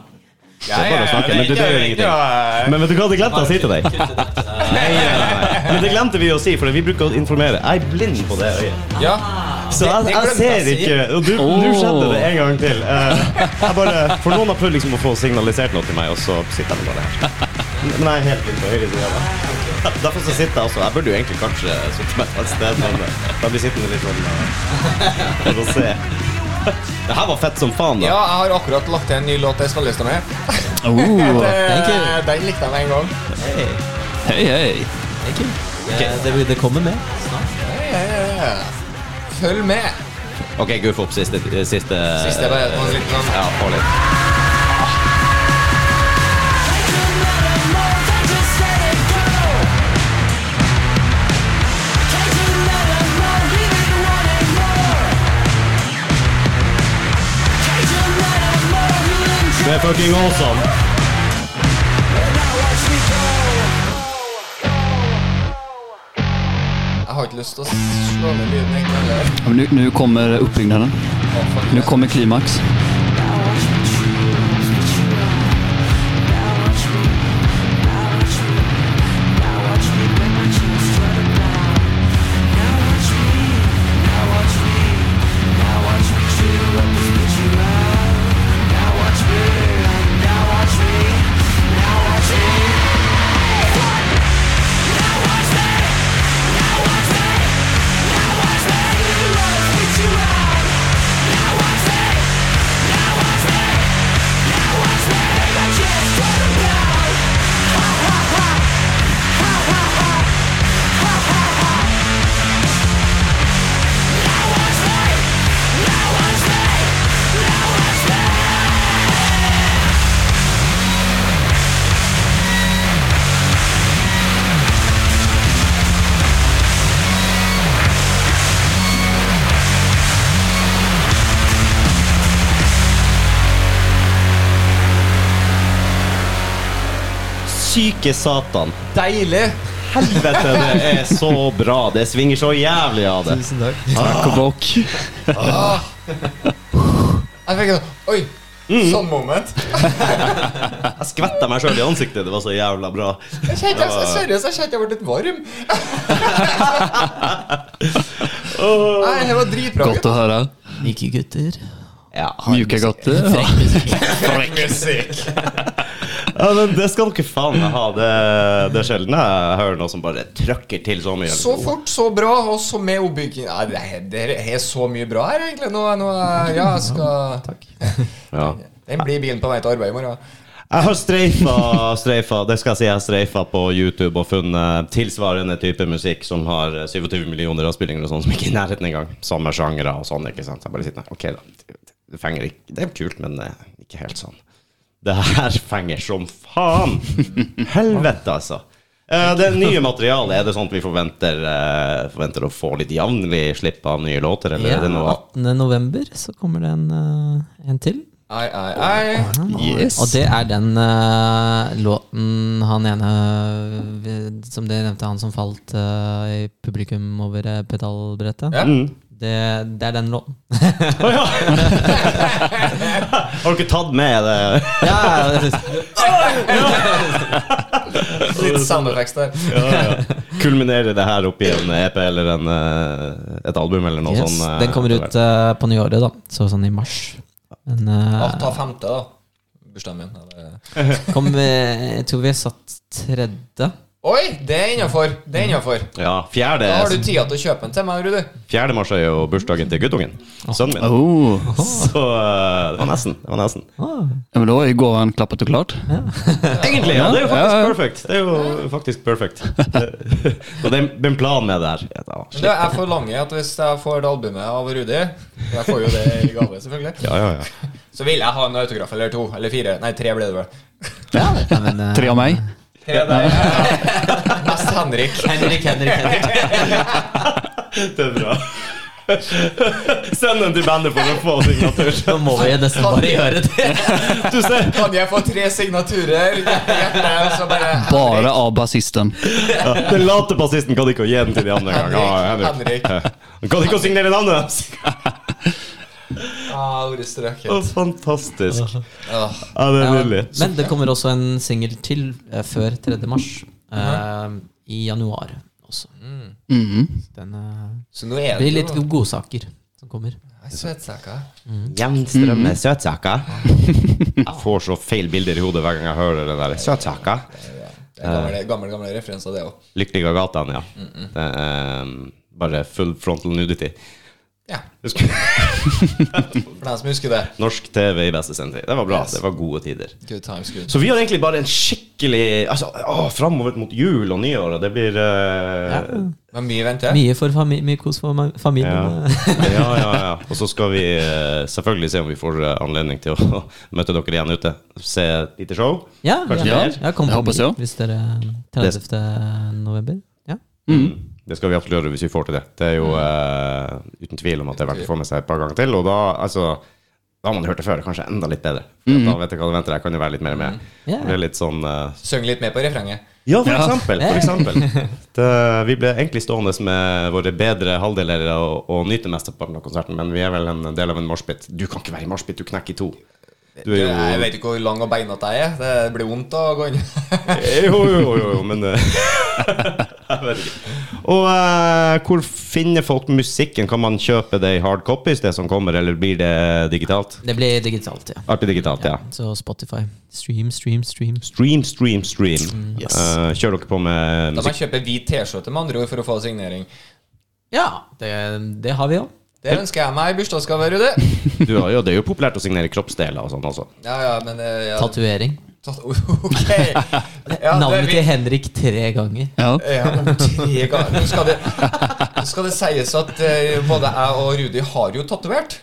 S1: Det er bare å snakke, men du, det gjør ingenting. Men vet du hva det glemte jeg å si til deg? Men det glemte vi å si, for vi bruker å informere. Jeg er blind på det øyet.
S2: Ja.
S1: Så jeg, jeg ser ikke Og du,
S4: Åh.
S1: nå skjedde det en gang til. Eh, jeg bare, for noen har prøvd liksom å få signalisert noe til meg, og så sitter jeg bare her. Men jeg er helt blind på høyre side. da. Derfor så sitter jeg også Jeg burde jo egentlig kanskje sittet meg et sted, men jeg blir sittende litt sånn eh, for å se. Det her var fett som faen,
S2: Ja,
S1: da.
S2: jeg har akkurat lagt til en ny låt til spillelista mi.
S4: Oh,
S3: Thank you.
S2: Eh, Den likte jeg med en gang.
S3: Hey,
S4: hei, hei.
S3: thank you. Eh, det, det kommer med snart.
S2: Ja, ja, ja, ja. Følg med.
S1: Ok, guff opp siste Siste,
S2: Siste bare ta en liten sånn.
S1: Ja, få litt. Det er fucking awesome.
S2: Jeg har ikke lyst til å slå ned lyden egentlig heller.
S4: Ja, men Nu, nu kommer uppbyggnaden. Nu kommer klimax. Syke satan.
S2: Deilig!
S1: Helvete, det er så bra. Det svinger så jævlig av det.
S3: Tusen takk.
S4: Tack och bock.
S2: Ah! Jeg fikk en Oi! Sånn moment.
S1: Jeg skvetta meg sjøl i ansiktet. Det var så jævla bra.
S2: Jeg kjente jeg, seriøst, jeg kjente jeg ble litt varm. Nei, det var dritbra.
S4: Gott att höra.
S3: Myke gutter.
S1: Ja,
S4: Mjuka gotter.
S3: Frekk [LAUGHS] musikk.
S2: Musikk.
S1: ja, men Det skal dere faen meg ha. Det, det er sjelden jeg hører noe som bare trøkker til så mye.
S2: Så fort, så bra, og så med oppbygging. Nei, det er, det er- er så mye bra her, egentlig. Nå, nå, ja, jeg skal
S1: Ja.
S2: Den blir bilen på vei til arbeid i morgen.
S1: Jeg har streifa, streifa Det skal jeg si, jeg har streifa på YouTube og funnet tilsvarende type musikk som har eh, 27 millioner avspillinger og sånn, som ikke er i nærheten engang. Samme sjangere og sånn, ikke sant. Jeg bare sitter der, ok da, det fenger ikke Det er kult, men eh, ikke helt sånn. Det her fenger som faen! Helvete, altså. Eh, Det nye materialet, er det sånn at vi forventer, eh, forventer å få litt jevnlig slipp av nye låter, eller
S3: Ja,
S1: er det noe
S3: 18. november så kommer det en, eh, en til.
S2: Ei, ei, ei.
S1: Yes.
S3: Og det er den eh, låten han ene eh, Som dere nevnte, han som falt eh, i publikum over eh, pedalbrettet.
S2: Ja.
S1: Mm.
S3: Det, det er den låten.
S1: Å ja! Har du ikke tatt med eh, det?
S3: ja,
S2: Litt soundeffects der.
S1: Kulminerer det her opp i en EP eller en, eh, et album eller noe
S3: yes.
S1: sånt? eh,
S3: Den kommer ut eh, på nyåret, da. Så sånn i mars. Men
S2: Ja,
S1: Ah.
S3: eh,
S2: ta femte, da. Bursdagen min. eller-
S3: kom, eh, jeg tror vi er satt tredje.
S2: Oi, det er innafor. Det er innafor.
S1: Ja, fjerde,
S2: Da har du tida til å kjøpe en til meg, Rudi.
S1: fjerde mars er jo bursdagen til guttungen. Sønnen min.
S4: Oh.
S1: Så eh, det var nesten. Det var nesten.
S3: Ah,
S4: Ja, men da er gården klappet og klart.
S1: Egentlig, ja. Det er jo
S4: Ja, ja.
S1: faktisk perfekt. Det er jo faktisk perfekt. Og det er en- det er en plan med det her. Ja, da,
S2: Men
S1: shit.
S2: det, jeg forlanger at hvis jeg får det albumet av Rudi Jeg får jo det i gave, selvfølgelig.
S1: Ja, ja, ja.
S2: Så vil jeg ha en autograf eller to. Eller fire. Nei, tre ble det vel.
S3: ja, men, eh,
S4: Tre av meg.
S2: Tre deg. Mest Henrik.
S3: Henrik, Henrik, Henrik.
S1: Det er bra. Send den til bandet for å få signatur.
S3: [LAUGHS] Nå må vi nesten bare gjøre det.
S1: [LAUGHS] Du ser,
S2: Kan jeg få tre signaturer? Hjerte, hjerte, så bare
S4: Bare av bassisten.
S1: Ja, Den late bassisten kan ikke å gi den til de andre engang. Ja,
S2: Henrik.
S1: Han kan ikke å signere navnet deres!
S2: Ah, ordet strøket.
S1: Fantastisk.
S2: Ah.
S1: Ja, det er
S3: Ja,
S1: nydelig.
S3: Men det kommer også en singel til eh, før 3. mars.
S1: Mhm.
S3: eh, I januar også.
S4: Mhm.
S3: Den eh,
S2: Så nå er det
S3: blir litt
S2: jo
S3: godsaker som kommer.
S2: Nei, Søtsaker.
S1: Jevnstrømme søtsaka. [LAUGHS] Jeg får så feil bilder i hodet hver gang jeg hører det der. Søtsaka.
S2: Det er Gamle, gamle, gamle referanser, det òg.
S1: Lykkelig av gatan, ja. Det er, um, bare full frontal nudity.
S2: Ja,
S1: Husker-
S2: for dem som husker det.
S1: [LAUGHS] Norsk TV i beste sendetid. Det var bra. Det var gode tider.
S2: Good times, good.
S1: Så vi har egentlig bare en skikkelig altså, å, Framover mot jul og nyår, og det blir uh,
S2: Men mye venter.
S3: Mye, for fami mye kos for ma- familien.
S1: Ja. ja, ja, ja. Og så skal vi eh, selvfølgelig se om vi får eh, anledning til å [LAUGHS] møte dere igjen ute. Se et lite show.
S3: [LAUGHS] Ja,
S1: Kanskje
S3: ja.
S1: mer?
S3: ja kom
S4: Jeg
S3: på
S4: håper
S3: mitt,
S4: så.
S3: hvis dere 30. november. Ja.
S1: Mm. Det skal vi avsløre hvis vi får til det. Det er jo eh, uten tvil om at det er verdt å få med seg et par ganger til. Og da, altså, da har man hørt det før, kanskje enda litt bedre. For Da vet jeg hva det venter. Jeg kan jo være litt mer med.
S3: Mm. Ja.
S1: Det er litt sånn eh,
S2: Syng litt med på refrenget.
S1: Ja, for eksempel. For eksempel. Det, vi ble egentlig stående med våre bedre halvdeler og, og nyte mesteparten av konserten, men vi er vel en del av en moshpit. Du kan ikke være i moshpit, du knekker i to. Du er jo-
S2: Jeg vet ikke hvor lang og beinete jeg er. Det blir vondt å gå inn. [LAUGHS]
S1: Jo, jo, jo, jo, jo men eh, [LAUGHS] Jeg vet ikke. Og eh, hvor finner folk musikken? Kan man kjøpe det i hard copies, det som kommer, eller blir det digitalt?
S3: Det blir digitalt, ja.
S1: Alltid digitalt, ja.
S3: Så Spotify. Stream, stream, stream.
S1: Stream, stream, stream.
S4: yes.
S1: Eh, kjører dere på med
S2: Da må
S1: musikk?
S2: jeg kjøpe hvit T-skjorte med andre ord for å få signering.
S3: Ja, det, det har vi òg.
S2: Det ønsker jeg meg i bursdagsgave, Rudi.
S1: Du har jo, det er jo populært å signere kroppsdeler og sånn også.
S2: Ja, ja, men eh, ja.
S3: Tatovering.
S2: Tatt-
S3: [LAUGHS]
S2: Ok. Ja, det
S3: Navnet til
S2: er vi-
S3: Henrik tre ganger.
S4: Ja.
S2: Ja, men tre ganger. Nå skal det, nå skal det sies at eh, både jeg og Rudi har jo tatovert.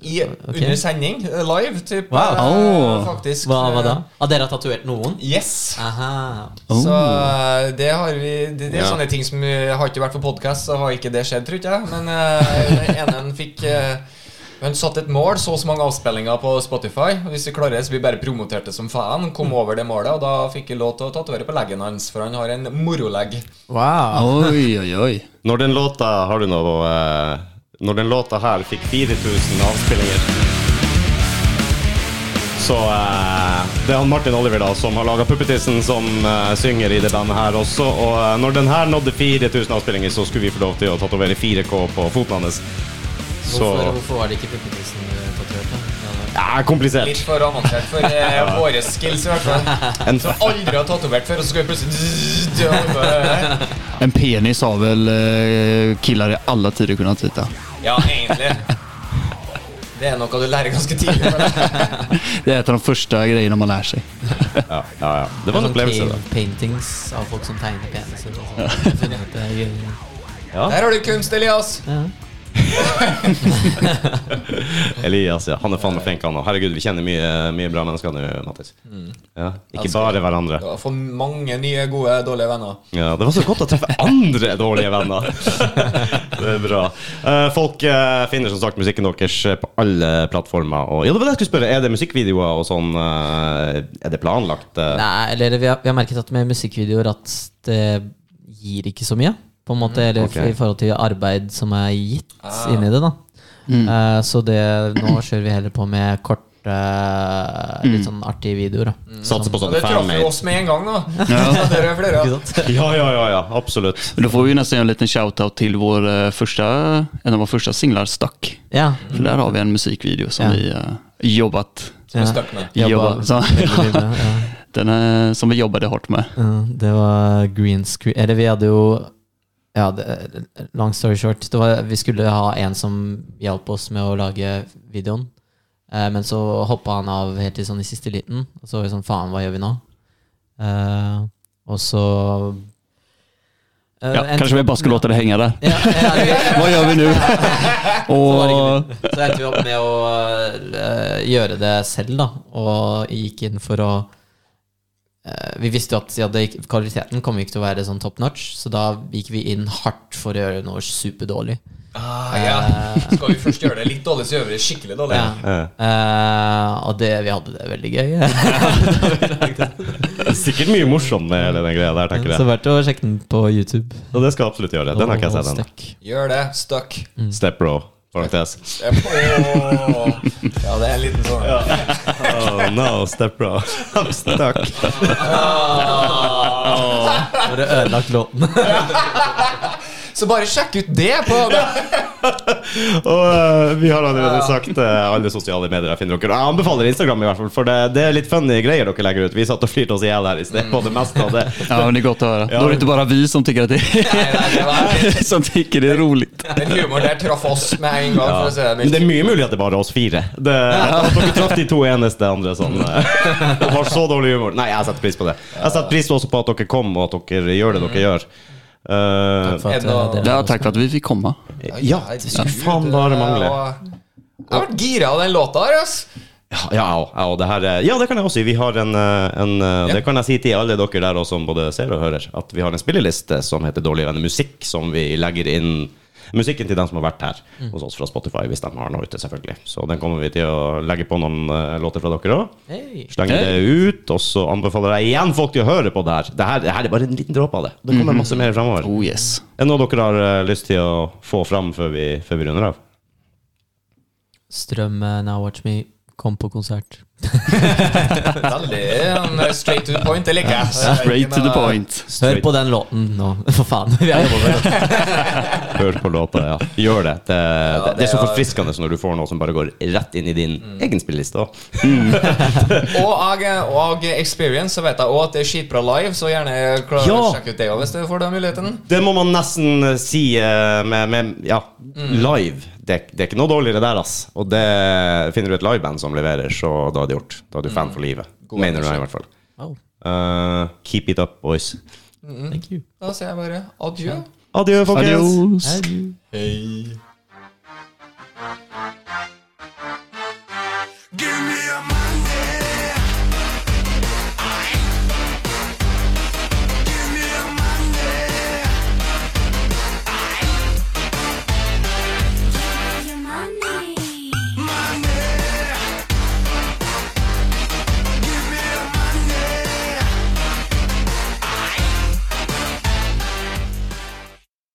S2: I, Under sending, eh, live, typ,
S3: Wow.
S2: eh,
S4: Oh.
S2: faktisk.
S3: Hva, hva da?
S2: eh,
S3: Ah, dere har tatovert noen?
S2: Yes.
S3: Aha.
S4: Oh.
S2: Så eh, det har vi Det, det er
S1: Ja.
S2: sånne ting som eh, har ikke vært på podkast, så har ikke det skjedd, tror ikke jeg. Men eh, den ene han fikk eh, Han satte et mål, så og så mange avspillinger på Spotify. Og Hvis vi klarer det, så blir vi bare promotert det som faen. Kom over det målet, og da fikk jeg lov til å tatovere på leggen hans, for han har en morolegg.
S3: Wow.
S4: Oi, oi, oi.
S1: Når den låta Har du noe eh, Når den låta her fikk 4000 avspillinger Så eh, det er han Martin Oliver da Som har laget Puppetissen som eh, synger i det bandet her også Og eh, når den her nådde 4000 avspillinger Så skulle vi få lov til å tatovere 4K på foten hans Så
S3: Hvorfor, hvorfor var det ikke puppetissen du tatoverte? Ja,
S1: ja, komplisert
S2: Litt for avansert for
S1: [LAUGHS]
S2: eh, våre skills, i hvert fall.
S1: En
S2: Som aldri har tatovert før, og så skal vi plutselig [LAUGHS] Ja,
S4: En penis har
S3: [LAUGHS]
S4: väl eh, killar i alla tider kunnat hitta.
S2: Ja, egentlig. Det er noe du lærer ganske tidlig. for
S1: [LAUGHS]
S2: det.
S4: Det er et av de første greiene man lærer
S3: [LAUGHS]
S4: seg.
S1: Ja, ja, ja. Det var en
S3: Sånn
S1: opplevelse,
S3: pa-
S1: da.
S3: Paintings av folk som tegner peniser.
S1: [LAUGHS]
S3: og sånn. Funnet ut det er gøy.
S2: Der har du kunst, Elias!
S3: Ja.
S1: Elias, ja. Han er faen meg flink, han òg. Herregud, vi kjenner mye, mye bra mennesker nå, Mattis. Ja. Ikke bare hverandre.
S2: Du har fått mange nye, gode, dårlige venner.
S1: Ja, det var så godt å treffe andre dårlige venner. [LAUGHS] Det er bra. Eh, folk eh, finner som sagt musikken deres på alle plattformer. Og, ja, det var det jeg skulle spørre. Er det musikkvideoer og sånn? eh, er det planlagt? eh?
S3: Nei, eller vi har, vi har merket at med musikkvideoer at det gir ikke så mye. På en måte, eller
S1: Mm, ok. Ah.
S3: i forhold til arbeid som er gitt inni det, da. Eh, så det,
S1: [CLEARS THROAT]
S3: nå kjører vi heller på med korte, litt sånn artige videoer. Da.
S1: Satser på
S2: Og
S1: sånn
S2: det traff jo
S1: fanmade.
S2: oss med en gang,
S3: [LAUGHS]
S2: da.
S4: Ja.
S2: Det er flere.
S3: Ikke
S2: ja.
S3: sant?
S1: [LAUGHS] Ja, ja, ja, ja, absolutt.
S4: Då får vi ju nästan göra en liten shoutout till vår eh, första, en av våra första singlar, Stuck.
S3: Ja.
S4: För där har vi en musikvideo som
S3: Ja.
S4: vi eh, jobbat.
S2: Som
S3: Ja.
S2: er stuck med.
S4: jobba- så,
S3: Veldig bra, ja.
S4: [LAUGHS] den eh, som vi jobbade hårt med.
S3: Ja, Mm, det var green screen Eller vi hadde jo ja, det, Long story short. Det var, vi skulle ha en som hjalp oss med å lage videoen. Eh, men så hoppa han av helt i sånn i siste liten. Og så var vi sånn Faen, hva gjør vi nå? Eh, og så eh,
S4: Ja,
S3: en-
S4: kanske vi bara ska låta det hänga där.
S3: ja, ja, det-
S4: Vad gör vi nu?
S3: så var det
S4: Och,
S3: ikke det. Så endte vi opp med å eh, gjøre det selv, da. Og gikk inn for å eh, Vi visste jo at ja, det, gikk- kvaliteten kom ikke til å være sånn top notch, så da gikk vi inn hardt for å gjøre noe superdårlig.
S2: Ah, ja. Skal vi først gjøre det litt dårlig, så gjør vi det skikkelig dårlig.
S3: Ja. Eh, og det, vi hadde det veldig [LAUGHS] gøy.
S1: Det er [LAUGHS] sikkert mye morsomt med hele den greia der, tenker
S3: så
S1: jeg.
S3: verdt å sjekke den på YouTube.
S1: Og det skal jeg absolutt gjøre. Den har ikke jeg sett ennå.
S3: Stuck.
S2: Gjør det. Stuck.
S3: Mm.
S1: Step bro. Parentes.
S2: Åh. Ja, det er en liten sånn.
S1: [LAUGHS] Oh no, step [LAUGHS] bro. I'm stuck.
S2: Ah.
S3: Har du ødelagt låten?
S2: [LAUGHS] Så bare sjekk ut det på
S1: Og eh, vi har allerede sagt eh, alle sosiale medier jeg finner dere. Jeg anbefaler Instagram, i hvert fall, for det, det er litt funny greier dere legger ut. Vi satt og flirte oss i hjel her i sted på det meste av det.
S4: ja, men det är gott att höra. Då är det inte bara vi som tycker att det
S2: Nei, nei, det var
S4: är, [LAUGHS] som tycker det är roligt.
S2: Den humoren der traff oss med en gang. For å si det
S1: Men det
S2: mildt.
S1: er mye mulig at det bare er oss fire. Det, at Dere traff de to eneste andre sånn eh, [LAUGHS] og har så dårlig humor. Nei, jeg setter pris på det. Jeg setter pris også på at dere kom, og at dere gjør det dere gjør. Eh,
S3: For at,
S2: Ennå-
S3: eh, det-
S4: Ja, tack för att vi fick komma.
S1: ja, det skulle faen bare mangle.
S2: Jeg har vært gira av den låta her, ass.
S1: Ja, ja, og- ja, og det her, er- ja, det kan jeg også si. Vi har en, eh, en eh, Det kan jeg si til alle dere der også, som både ser og hører, at vi har en spilleliste som heter Dårlige venner musikk, som vi legger inn musikken til dem som har vært her hos oss fra Spotify, hvis de har noe ute, selvfølgelig. Så den kommer vi til å legge på noen eh, låter fra dere òg.
S3: Hey.
S1: Slenger det ut, og så anbefaler jeg igjen folk til å høre på det her. Det her, det her er bare en liten dråpe av det. Det kommer masse mer fremover.
S4: Oh yes.
S1: Er det noe dere har eh, lyst til å få fram før vi, før vi runder av?
S3: Strøm eh, Now Watch Me kom på konsert.
S2: Veldig um, straight to the point. Det liker jeg. eh,
S4: Straight to the point.
S3: Hør på den låten nå, [LAUGHS] for faen. Vi er jo over det.
S1: Hør på låta, ja. Gjør det. Det, det, det er Mm. så
S2: det er-
S1: forfriskende når du får noe som bare går rett inn i din egen spilleliste. også.
S2: Og, og Experience, så vet jeg òg at det er skitbra live, så gjerne klar,
S1: Ja.
S2: sjekk ut det òg hvis du får den muligheten.
S1: Det må man nesten eh, si eh, med, med ja, live. Det, det er ikke noe dårligere der, ass. Og det finner du et liveband som leverer, så da er det gjort. Da er du fan for livet. Mener du det, i hvert fall.
S3: Wow,
S1: Eh, keep it up, boys.
S3: thank you.
S2: Da sier jeg bare adjø.
S1: Adjø, folkens.
S4: Adios.
S3: Adieu.
S2: Hei.